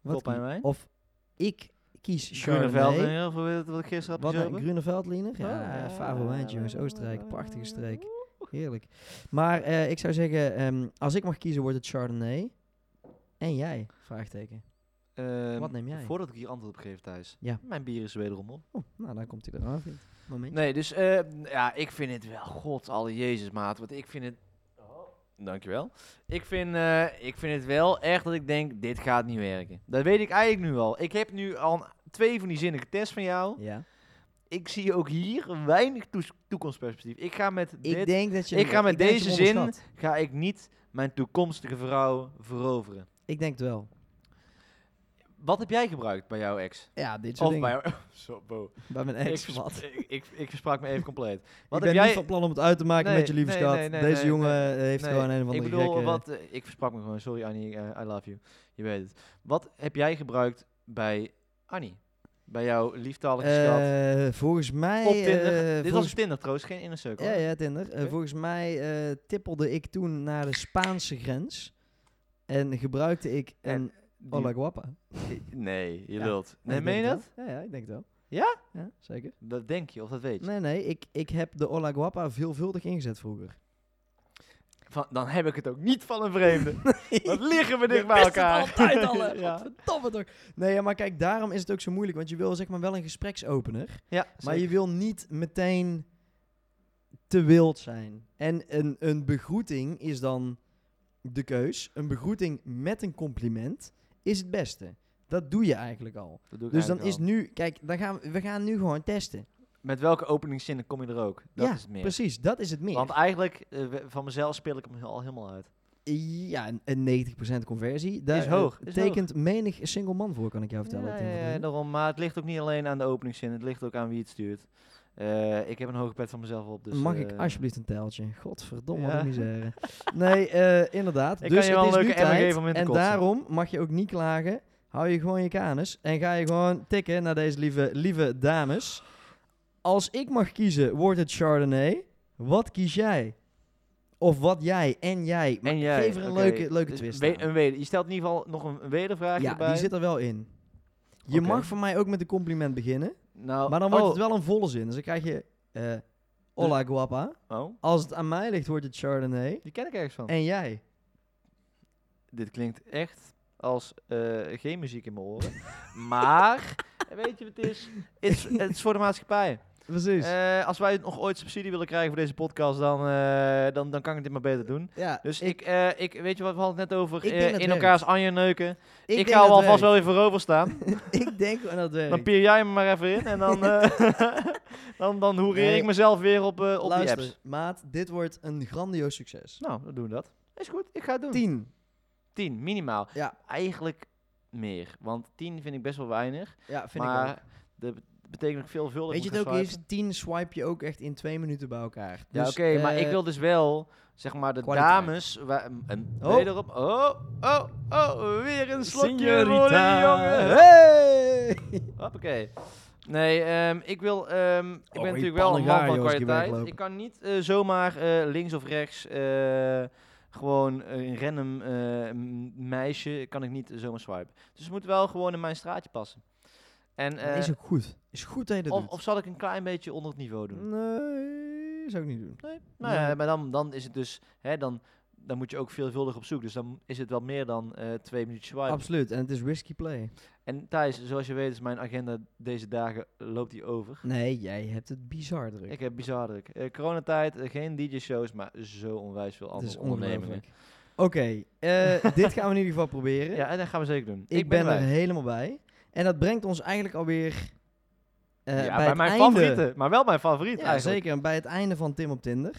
Wat
koppijn
kie-
wijn.
Of ik kies
Groene velden,
Chardonnay.
heel veel weet het wat Oh, ik gisteren had
Wat een
gezopen. Ah.
groene veldliner. Ja, ja, Favo wijntje, jongens. Oostenrijk, prachtige streek. Heerlijk. Maar eh, ik zou zeggen, ehm, als ik mag kiezen, wordt het Chardonnay. En jij? Vraagteken.
Ehm,
Wat neem jij?
Voordat ik hier antwoord op geef thuis.
Ja.
Mijn bier is wederom op.
Oh, nou, dan komt hij eraan. vriend. Momentje.
Nee, dus eh, ja, ik vind het wel. God, alle Jezus, maat. Want ik vind het. oh, Dankjewel. Ik vind, eh, ik vind het wel echt dat ik denk: dit gaat niet werken. Dat weet ik eigenlijk nu al. Ik heb nu al een- twee van die zinnen getest van jou.
Ja.
Ik zie ook hier weinig toes- toekomstperspectief. Ik ga met
Ik
dit
denk dat je...
ik ga met
denk dat je
deze
hem
zin-
onderschat.
ga ik niet mijn toekomstige vrouw veroveren.
Ik denk het wel.
Wat heb jij gebruikt bij jouw ex?
Ja, dit soort
Of
dingen.
bij Zo, bo.
Bij mijn
Ik,
ex,
vers-
wat?
ik, ik, ik versprak me even compleet.
ik
Wat
ben
heb jij
niet van plan om het uit te maken
Nee,
met je lieve
nee,
schat.
nee, nee,
Deze
nee,
jongen
nee.
eh, heeft
Nee,
gewoon een of andere
Ik bedoel,
gekke-
wat, eh, ik versprak me gewoon. Sorry Annie, eh, I love you. Je weet het. Wat heb jij gebruikt bij Annie? Bij jouw lieftalige schat?
Eh, volgens mij...
Op Tinder.
eh,
Dit
volgens
was Tinder trouwens, geen inner circle.
Ja,
hè?
ja, Tinder. Eh,
Oké.
volgens mij eh, tippelde ik toen naar de Spaanse grens. En gebruikte ik
En
een
Die-
Hola Guapa.
Nee, je
Ja.
lult. Nee,
Ja, ik
meen je
denk
dat?
het wel. Ja, ja, ik denk het wel.
Ja?
Ja, zeker.
Dat denk je of dat weet je.
Nee, nee, ik, ik heb de Hola Guapa veelvuldig ingezet vroeger.
Van, dan heb ik het ook niet van een vreemde. Wat liggen we dicht bij elkaar.
altijd al, hè.
ja,
Godverdomme toch. Nee, ja, maar kijk, daarom is het ook zo moeilijk. Want je wil zeg maar wel een gespreksopener.
ja
Maar
zeker.
je wil niet meteen te wild zijn. En een, een begroeting is dan de keus. Een begroeting met een compliment is het beste. Dat doe je eigenlijk al.
Dat doe ik
Dus dan
eigenlijk
is
wel.
nu, kijk, dan gaan we, we gaan nu gewoon testen.
Met welke openingszinnen kom je er ook? Dat
ja,
is het meer.
precies, dat is het meer.
Want eigenlijk, eh, we- van mezelf speel ik hem al helemaal uit.
ja, een- een 90% conversie. Daar
Is
eh,
hoog, is
tekent menig single man voor, kan ik jou vertellen.
Ja,
Tim van
ja, ja,
Vliet.
daarom. Maar het ligt ook niet alleen aan de openingszin. Het ligt ook aan wie het stuurt. Eh, ik heb een hoge pet van mezelf op. Dus,
Mag ik
eh,
alsjeblieft een tijltje? Godverdomme, wat
Ja.
een misère. Nee, eh, inderdaad.
Ik
dus
kan je wel
het
een
is nu
leuke emmer
tijd
geven om in te
En
kotsen.
daarom mag je ook niet klagen. Hou je gewoon je kanus en ga je gewoon tikken naar deze lieve, lieve dames. Als ik mag kiezen, wordt het Chardonnay. Wat kies jij? Of wat jij en jij. Maar
En jij,
geef er een
oké.
leuke, leuke
Dus
twist
we-
aan.
een weder. Je stelt in ieder geval nog een, een wedervraag
Ja,
erbij.
die zit er wel in. Je
Oké.
mag voor mij ook met een compliment beginnen.
nou,
Maar dan wordt
oh,
het wel een volle zin. Dus dan krijg je... eh hola guapa.
Oh,
Als het aan mij ligt, wordt het Chardonnay.
die ken ik ergens van.
En jij?
Dit klinkt echt als eh, geen muziek in mijn oren. maar, weet je wat het is? Het is- Het is voor de maatschappij.
Precies.
Eh, als wij nog ooit subsidie willen krijgen voor deze podcast, dan, eh, dan, dan kan ik dit maar beter doen.
ja,
Dus ik, eh, ik weet je wat, we hadden het net over
Ik
eh,
denk dat
in
werkt.
elkaars anjen neuken. Ik,
denk
ga
dat
al alvast wel
werkt.
weer voorover staan.
ik denk aan dat
Dan
werkt.
pier jij me maar even in en dan, eh dan, dan hoereer
Nee.
ik mezelf weer op, eh, op die
Luister,
apps.
maat, dit wordt een grandioos succes.
Nou, dan doen we dat. Is goed, ik ga het doen.
10.
Tien, minimaal.
Ja.
Eigenlijk meer, want tien vind ik best wel weinig.
Ja, vind
maar
ik ook.
dat betekent ook veelvuldig.
Weet je
moet
het ook
gaan
is?
swipen.
10 swipe je ook echt in twee minuten bij elkaar.
Ja,
Dus,
oké, maar
eh,
ik wil dus wel, zeg maar, de
kwaliteit.
dames... Waar, en
Oh.
wederom... Oh, oh, oh, weer een slokje
Signorita.
voor die jongen.
Hey!
Hoppakee. Nee, ehm, ik wil. ehm, ik ben
Oh, je
natuurlijk wel een
pannen
man
raar,
van
joh, als ik hier
kwaliteit.
wegloop.
Ik kan niet eh, zomaar eh, links of rechts eh, gewoon een random eh, m- meisje kan ik niet zomaar swipen. Dus het moet wel gewoon in mijn straatje passen. En,
Dat is
eh,
ook goed. Is goed dat je dat
of,
doet. Mm,
of zal ik een klein beetje onder het niveau doen?
nee, zou ik niet doen.
Nee. Nou
Nee.
ja, maar dan, dan is het dus. Hè, dan, dan moet je ook veelvuldig op zoek. Dus dan is het wel meer dan eh, twee minuten swipen.
Absoluut. En het is risky play.
en Thijs, zoals je weet, is mijn agenda deze dagen loopt die over.
Nee, jij hebt het bizar druk.
Ik heb bizar druk. Eh, coronatijd, eh, geen DJ-shows, maar zo onwijs veel
het is
andere ondernemingen.
ongelooflijk. Oké, eh, dit gaan we in ieder geval proberen.
Ja, en dat gaan we zeker doen.
Ik, ben, er
erbij.
helemaal bij. En dat brengt ons eigenlijk alweer eh bij,
ja, bij,
het
mijn
einde.
favoriete, maar wel mijn favoriet
Ja,
eigenlijk.
zeker. En Bij het einde van Tim op Tinder.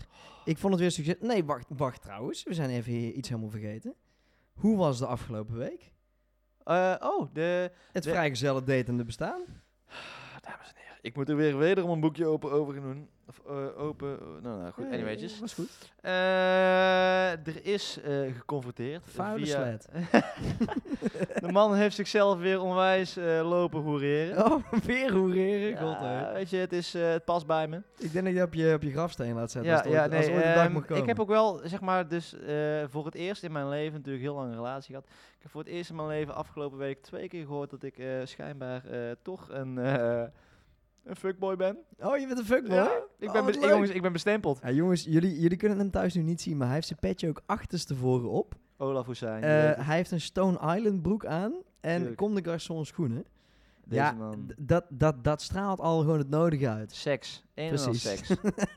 Ik vond het weer succes. Nee, wacht, wacht trouwens. We zijn even hier iets helemaal vergeten. Hoe was de afgelopen week?
Eh, oh, de...
Het
De-
vrijgezellen datende bestaan.
Dames en heren, ik moet er weer wederom een boekje open over gaan doen. Of eh, open... eh, nou, nou, goed.
Eh,
Anyways.
Was goed.
Eh, er is eh, geconfronteerd
Vuile
via...
slet.
De man heeft zichzelf weer onwijs eh, lopen hoereren.
Oh, weer hoereren. God,
Ja,
hè.
weet je, het, is, eh, het past bij me.
Ik denk dat je op je, op je grafsteen laat zetten. als het ooit, als het ooit een
ehm,
dag mag komen.
ik heb ook wel, zeg maar, dus eh, voor het eerst in mijn leven natuurlijk heel lang een relatie gehad. Ik heb voor het eerst in mijn leven afgelopen week twee keer gehoord dat ik eh, schijnbaar eh, toch een, eh, een fuckboy ben.
Oh, je bent een fuckboy.
Ja, ik,
Oh,
ben
wat
bes-
leuk.
jongens, ik ben bestempeld.
Ja, jongens, jullie, jullie kunnen hem thuis nu niet zien, maar hij heeft zijn petje ook achterstevoren op.
Olaf Hussein. je
Eh,
weet het.
hij heeft een Stone Island broek aan en
Tuurlijk.
Comme de Garçon schoenen.
Deze
ja,
man.
d- dat, dat, dat straalt al gewoon het nodige uit.
Seks. Een en al
Precies.
seks. dit, willen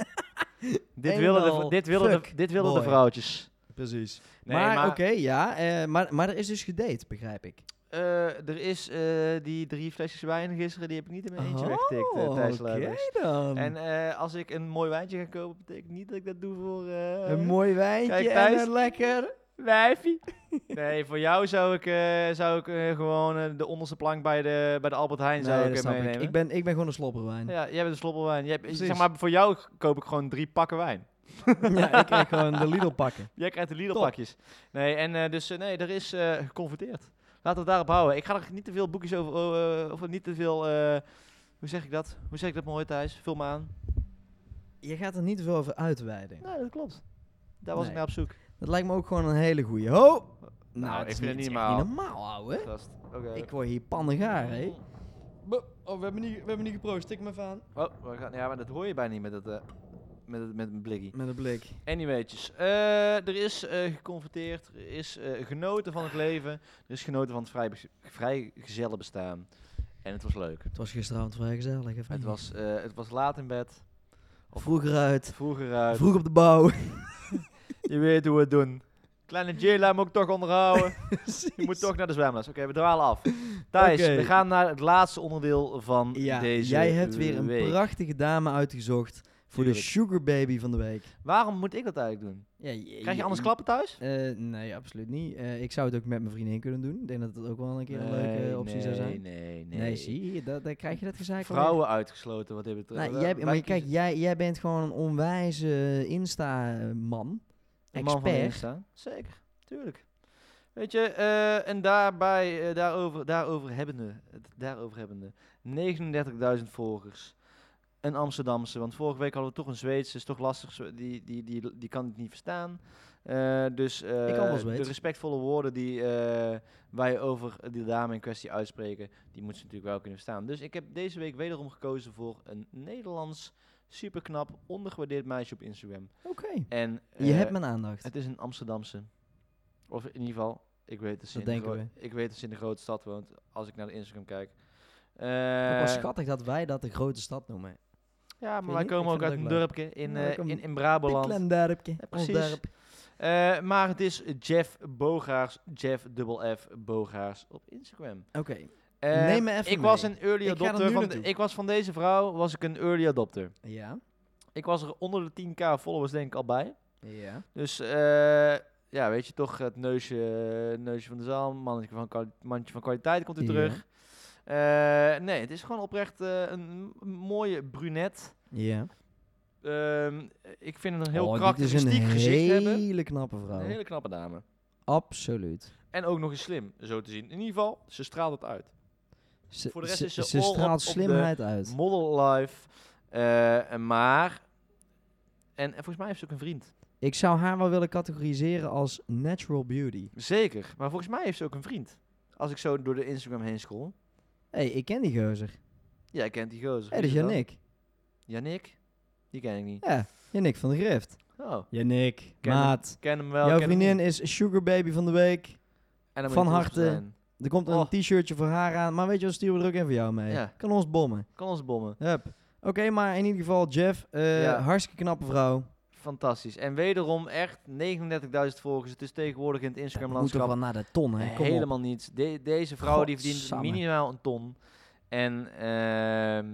de, vr-
Eenmaal
dit, willen de, dit willen de
fuckboy.
vrouwtjes.
Precies.
Nee,
maar
maar-
oké, ja, eh, maar, maar er is dus gedate, begrijp ik.
Eh, er is eh, die drie flesjes wijn gisteren, die heb ik niet in mijn eentje
Oh,
weggetikt, eh, Thijs
oké
Luijendijk.
dan.
En eh, als ik een mooi wijntje ga kopen, betekent niet dat ik dat doe voor... eh,
een mooi wijntje
kijk,
en
Thijs.
een lekker...
wijfie. Nee, voor jou zou ik, eh, zou ik eh, gewoon eh, de onderste plank bij de, bij de Albert Heijn
Nee,
zou
dat
ik, eh,
snap
meenemen.
ik. Ik ben, ik ben gewoon een slobberwijn. Ja.
Ja, jij bent een slobberwijn. Jij, hebt- eh,
Precies.
zeg maar, voor jou koop ik gewoon drie pakken wijn.
ik krijg gewoon de Lidl pakken.
Jij krijgt de
Top.
Lidl pakjes. Nee, en eh, dus eh, nee, er is eh, geconfronteerd. Laten we het daarop houden. Ik ga er niet te veel boekjes over, eh, of niet te veel, eh, hoe zeg ik dat? Hoe zeg ik dat mooi Thijs? Vul me aan.
Je gaat er niet te veel over uitweiden.
Nee, dat klopt. Daar was
Nee.
ik naar op zoek.
Dat lijkt me ook gewoon een hele goeie. Ho! Nou,
Nou,
het is
ik vind het
niet-
niet
is echt
normaal.
niet normaal, ouwe.
Gast.
Ik word hier pannengaar, hè. Oh, we hebben niet, we hebben niet geproost. Tik me even aan.
Oh, we gaan, ja, maar dat hoor je bijna niet met dat, eh, met, het, met een blikkie.
Met een blik.
Anyways, eh, er is eh, geconfronteerd, er is eh, genoten van het leven, er is genoten van het vrij, vrijgezellen bestaan. En het was leuk.
Het was gisteravond vrij gezellig. Of
Het,
niet?
was, eh, het was laat in bed,
vroeger uit,
vroeger uit.
vroeg op de bouw.
Je weet hoe we het doen. Kleine Jayla moet ik toch onderhouden. Je moet toch naar de zwemles. Oké, we dwalen af. Thijs,
Oké.
we gaan naar het laatste onderdeel van
Ja,
deze
jij hebt weer een
week.
prachtige dame uitgezocht voor de
Tuurlijk.
sugar baby van de week.
Waarom moet ik dat eigenlijk doen?
Ja,
Krijg je anders klappen thuis?
Eh, nee, absoluut niet. Eh, ik zou het ook met mijn vriendin kunnen doen. Ik denk dat dat ook wel een keer een leuke optie zou zijn.
Nee, nee,
Nee, zie je, daar, daar krijg je dat gezeik alweer.
Vrouwen eh, uitgesloten, wat dit betreft.
Nou,
Wij-
jij,
wij
maar kijk,
kiezen-
jij, jij bent gewoon een onwijze Insta-man.
Een man van de
Expert.
Insta. Zeker, tuurlijk. Weet je, eh, en daarbij, eh, daarover, daarover hebbende, het daarover hebbende, 39.000 volgers. Een Amsterdamse, want vorige week hadden we toch een Zweedse, is toch lastig, zo- die, die, die, die kan het niet verstaan. Eh, dus eh,
Ik kan wel
de
Zweeds.
respectvolle woorden die eh, wij over die dame in kwestie uitspreken, die moet ze natuurlijk wel kunnen verstaan. Dus ik heb deze week wederom gekozen voor een Nederlands, superknap, ondergewaardeerd meisje op Instagram.
Oké.
En,
Je
eh,
hebt mijn aandacht.
het is een Amsterdamse. Of in ieder geval, ik weet dat ze,
Dat
in de,
denken
gro- ik weet dat ze in de grote stad woont. Als ik naar de Instagram kijk.
Ook wel
Eh,
schattig dat wij dat de grote stad noemen.
ja,
je
maar wij
niet?
komen
Ik
ook
vind
uit een
het ook leuk.
dorpje in,
Ja, wij
eh,
komen
in, in Brabeland.
Een dorpje.
Ja,
ons
precies.
dorp.
Eh, maar het is Jeff Bogaars, Jeff double F Bogaars op Instagram.
Oké.
Eh,
Neem me even
ik was
mee.
een early
Ik ga er
adopter.
nu
Van de-
naartoe.
ik was van deze vrouw was ik een early adopter.
Ja.
Ik was er onder de 10k followers denk ik al bij.
Ja.
Dus eh, ja, weet je toch, het neusje, neusje van de zaal, mannetje van, kwali- mandje van kwaliteit komt weer
Ja.
terug. Eh, nee, het is gewoon oprecht eh, een m- mooie brunet.
Ja.
Ehm, ik vind het een heel
Oh, dit
karakteristiek gezicht
is een
hebben.
hele Oh. knappe vrouw.
Een hele knappe dame.
Absoluut.
En ook nog eens slim, zo te zien. In ieder geval, ze straalt het uit.
Ze,
Voor de rest
ze,
is ze
ze
all op-
straalt
op de
slimheid uit.
Model life. eh, maar... En, en volgens mij heeft ze ook een vriend.
Ik zou haar wel willen categoriseren als natural beauty.
Zeker, maar volgens mij heeft ze ook een vriend. Als ik zo door de Instagram heen scroll.
Hé, hey, ik ken die geuzer. Hé,
Ja, ik ken die gozer.
hey, dat is
Wie dan?
Yannick.
Yannick? Die ken ik niet.
Ja, Yannick van de Grift.
Oh,
Yannick,
Ken hem.
maat.
ken hem wel.
Jouw
ken hem
vriendin
niet.
is sugar baby van de week.
En dan
van
moet je trots op
harte.
zijn.
Er komt een
Oh.
t-shirtje voor haar aan. Maar weet je wat, sturen we er ook even voor jou mee.
Ja.
Kan ons bommen.
Kan ons bommen.
Hup. Oké, maar in ieder geval, Jeff, eh,
Ja.
hartstikke knappe vrouw.
Fantastisch. En wederom echt 39.000 volgers. Het is tegenwoordig in het Instagram
Moet toch wel
landschap
naar de ton, hè? Kom op.
helemaal niets. De- deze vrouw die verdient
Godsamme.
minimaal een ton. En ehm,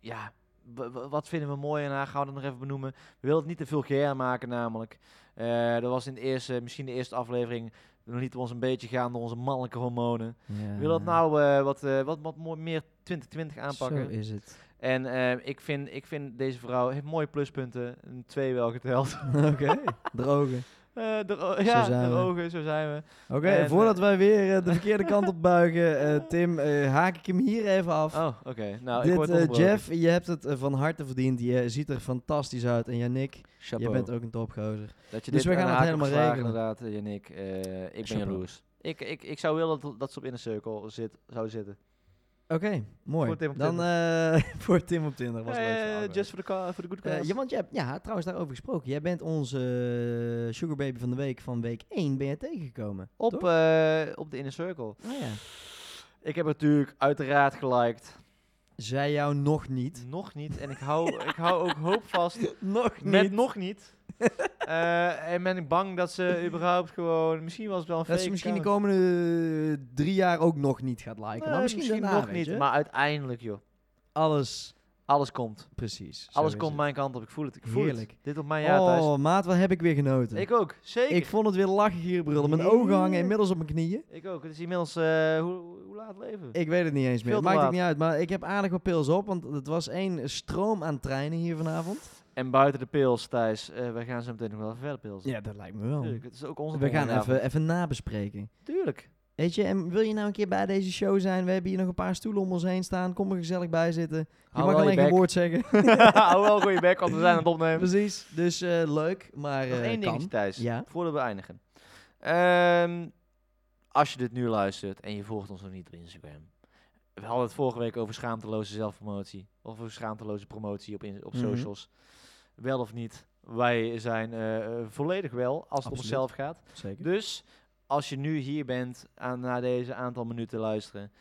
ja, w- w- wat vinden we mooi aan haar? Gaan we dat nog even benoemen. We willen het niet te vulgair maken namelijk. Eh dat was in de eerste, misschien de eerste aflevering. We lieten we ons een beetje gaan door onze mannelijke hormonen.
Ja.
Wil dat nou eh, wat, eh, wat, wat mooi meer 2020
Zo
aanpakken?
is het.
en eh, ik, vind, ik vind deze vrouw heeft mooie pluspunten. Een twee wel geteld.
Oké, drogen.
Eh, de o- ja,
zijn
de
we.
ogen, zo zijn we.
Oké,
En,
voordat
eh,
wij weer eh, de verkeerde kant op buigen, eh, Tim, eh, haak ik hem hier even af.
Oh, oké. Nou, ik
Dit,
word
eh,
onderbroken.
Jeff, je hebt het eh, van harte verdiend. Je ziet er fantastisch uit. En Janik,
Chapeau.
jij bent ook een topgozer.
dat je
dus
dit
we gaan
aan
het
de haak
helemaal
hebt geslagen,
regelen.
Inderdaad, eh, Yannick. Eh, ik ben
Chapeau.
jaloers. Ik, ik, ik zou willen dat, dat ze op Inner Circle zit, zou zitten.
Oké, mooi.
Voor Tim op
Dan eh, voor Tim op Tinder. Was een leuk verhaal
Eh,
geweest.
just for the, ca- for the good
Eh,
cause.
ja, want je hebt, ja, trouwens daarover gesproken. Jij bent onze eh, sugar baby van de week van week 1 ben je tegengekomen.
op,
toch?
eh, nou op de Inner Circle.
Oh ja.
Ik heb het natuurlijk uiteraard geliked.
Zij jou nog niet.
Nog niet. En ik hou, ik hou ook hoop vast
nog
Met nog niet. Eh, en ben ik bang dat ze überhaupt gewoon... Misschien was het wel een
Dat
fake
ze misschien de
account.
komende eh, drie jaar ook nog niet gaat liken.
Eh,
maar misschien, daarna,
nog
weet
niet.
je.
Maar uiteindelijk, joh.
Alles,
Alles komt.
precies. zo
Alles
is
komt
het.
mijn kant op. Ik voel het. Ik voel
Heerlijk.
het. Dit op mijn jaar, Thijs.
Oh, maat, wat heb ik weer genoten. Ik,
Ik ook. Zeker. Ik,
vond het weer lachen hier, brullen. Mijn
Nee.
ogen hangen inmiddels op mijn knieën.
ook. Het is inmiddels... eh, hoe, hoe laat leven?
Ik weet het niet eens meer.
Veel te
Maakt het
laat.
niet uit. Maar ik heb aardig wat pils op, want het was één stroom aan treinen hier vanavond.
En buiten de pils, Thijs. eh, wij gaan zo meteen nog wel even verder pils.
Ja, dat lijkt me wel.
Tuurlijk. Het is ook onze
We gaan
donderdagavond.
even, even nabespreken.
Tuurlijk.
Weet je, en wil je nou een keer bij deze show zijn? We hebben hier nog een paar stoelen om ons heen staan. Kom er gezellig bij zitten. Je
Hou
mag
wel
alleen
je
geen
bek.
woord zeggen.
Hou wel goed je bek, want we zijn aan het opnemen.
Precies. Dus eh, leuk, maar
Nog
eh,
één
kan.
dingetje, Thijs.
Ja.
Voordat we eindigen. Ehm, als je dit nu luistert en je volgt ons nog niet op Instagram. We hadden het vorige week over schaamteloze zelfpromotie. Of over schaamteloze promotie op, in- op
Mhm.
socials. Wel of niet. Wij zijn eh, eh, volledig wel als het om
Absoluut.
onszelf gaat.
Zeker.
Dus als je nu hier bent aan, na deze aantal minuten luisteren.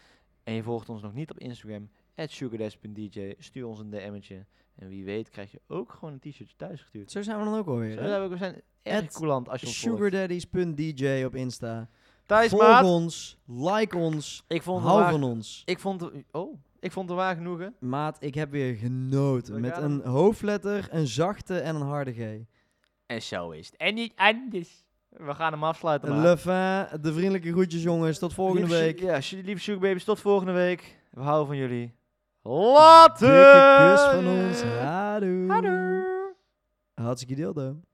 En je volgt ons nog niet op Instagram. sugardash.dj. Stuur ons een DM'tje. En wie weet krijg je ook gewoon een t-shirtje thuis gestuurd.
Dus, Zo zijn we dan ook alweer.
Zo,
hè?
ja, we zijn erg
At
coulant als je ons volgt.
Sugardaddies.dj op Insta.
Thijs,
Volg
maat,
ons, like ons,
ik vond, het
hou
waar,
van ons.
ik, vond, het- oh, ik vond het waar genoegen.
Maat, ik heb weer genoten.
We
Met
gaan
een hoofdletter, een zachte en een harde G.
En zo is het. En dus. niet anders. We gaan hem afsluiten. maat.
Le fin, de vriendelijke groetjes jongens. Tot volgende
Lieve su-
week.
Ja, su- lieve sugarbabies, tot volgende week. We houden van jullie.
Dikke
Later!
kus van ons. Hadoe.
Later!
Hartstikke dildo.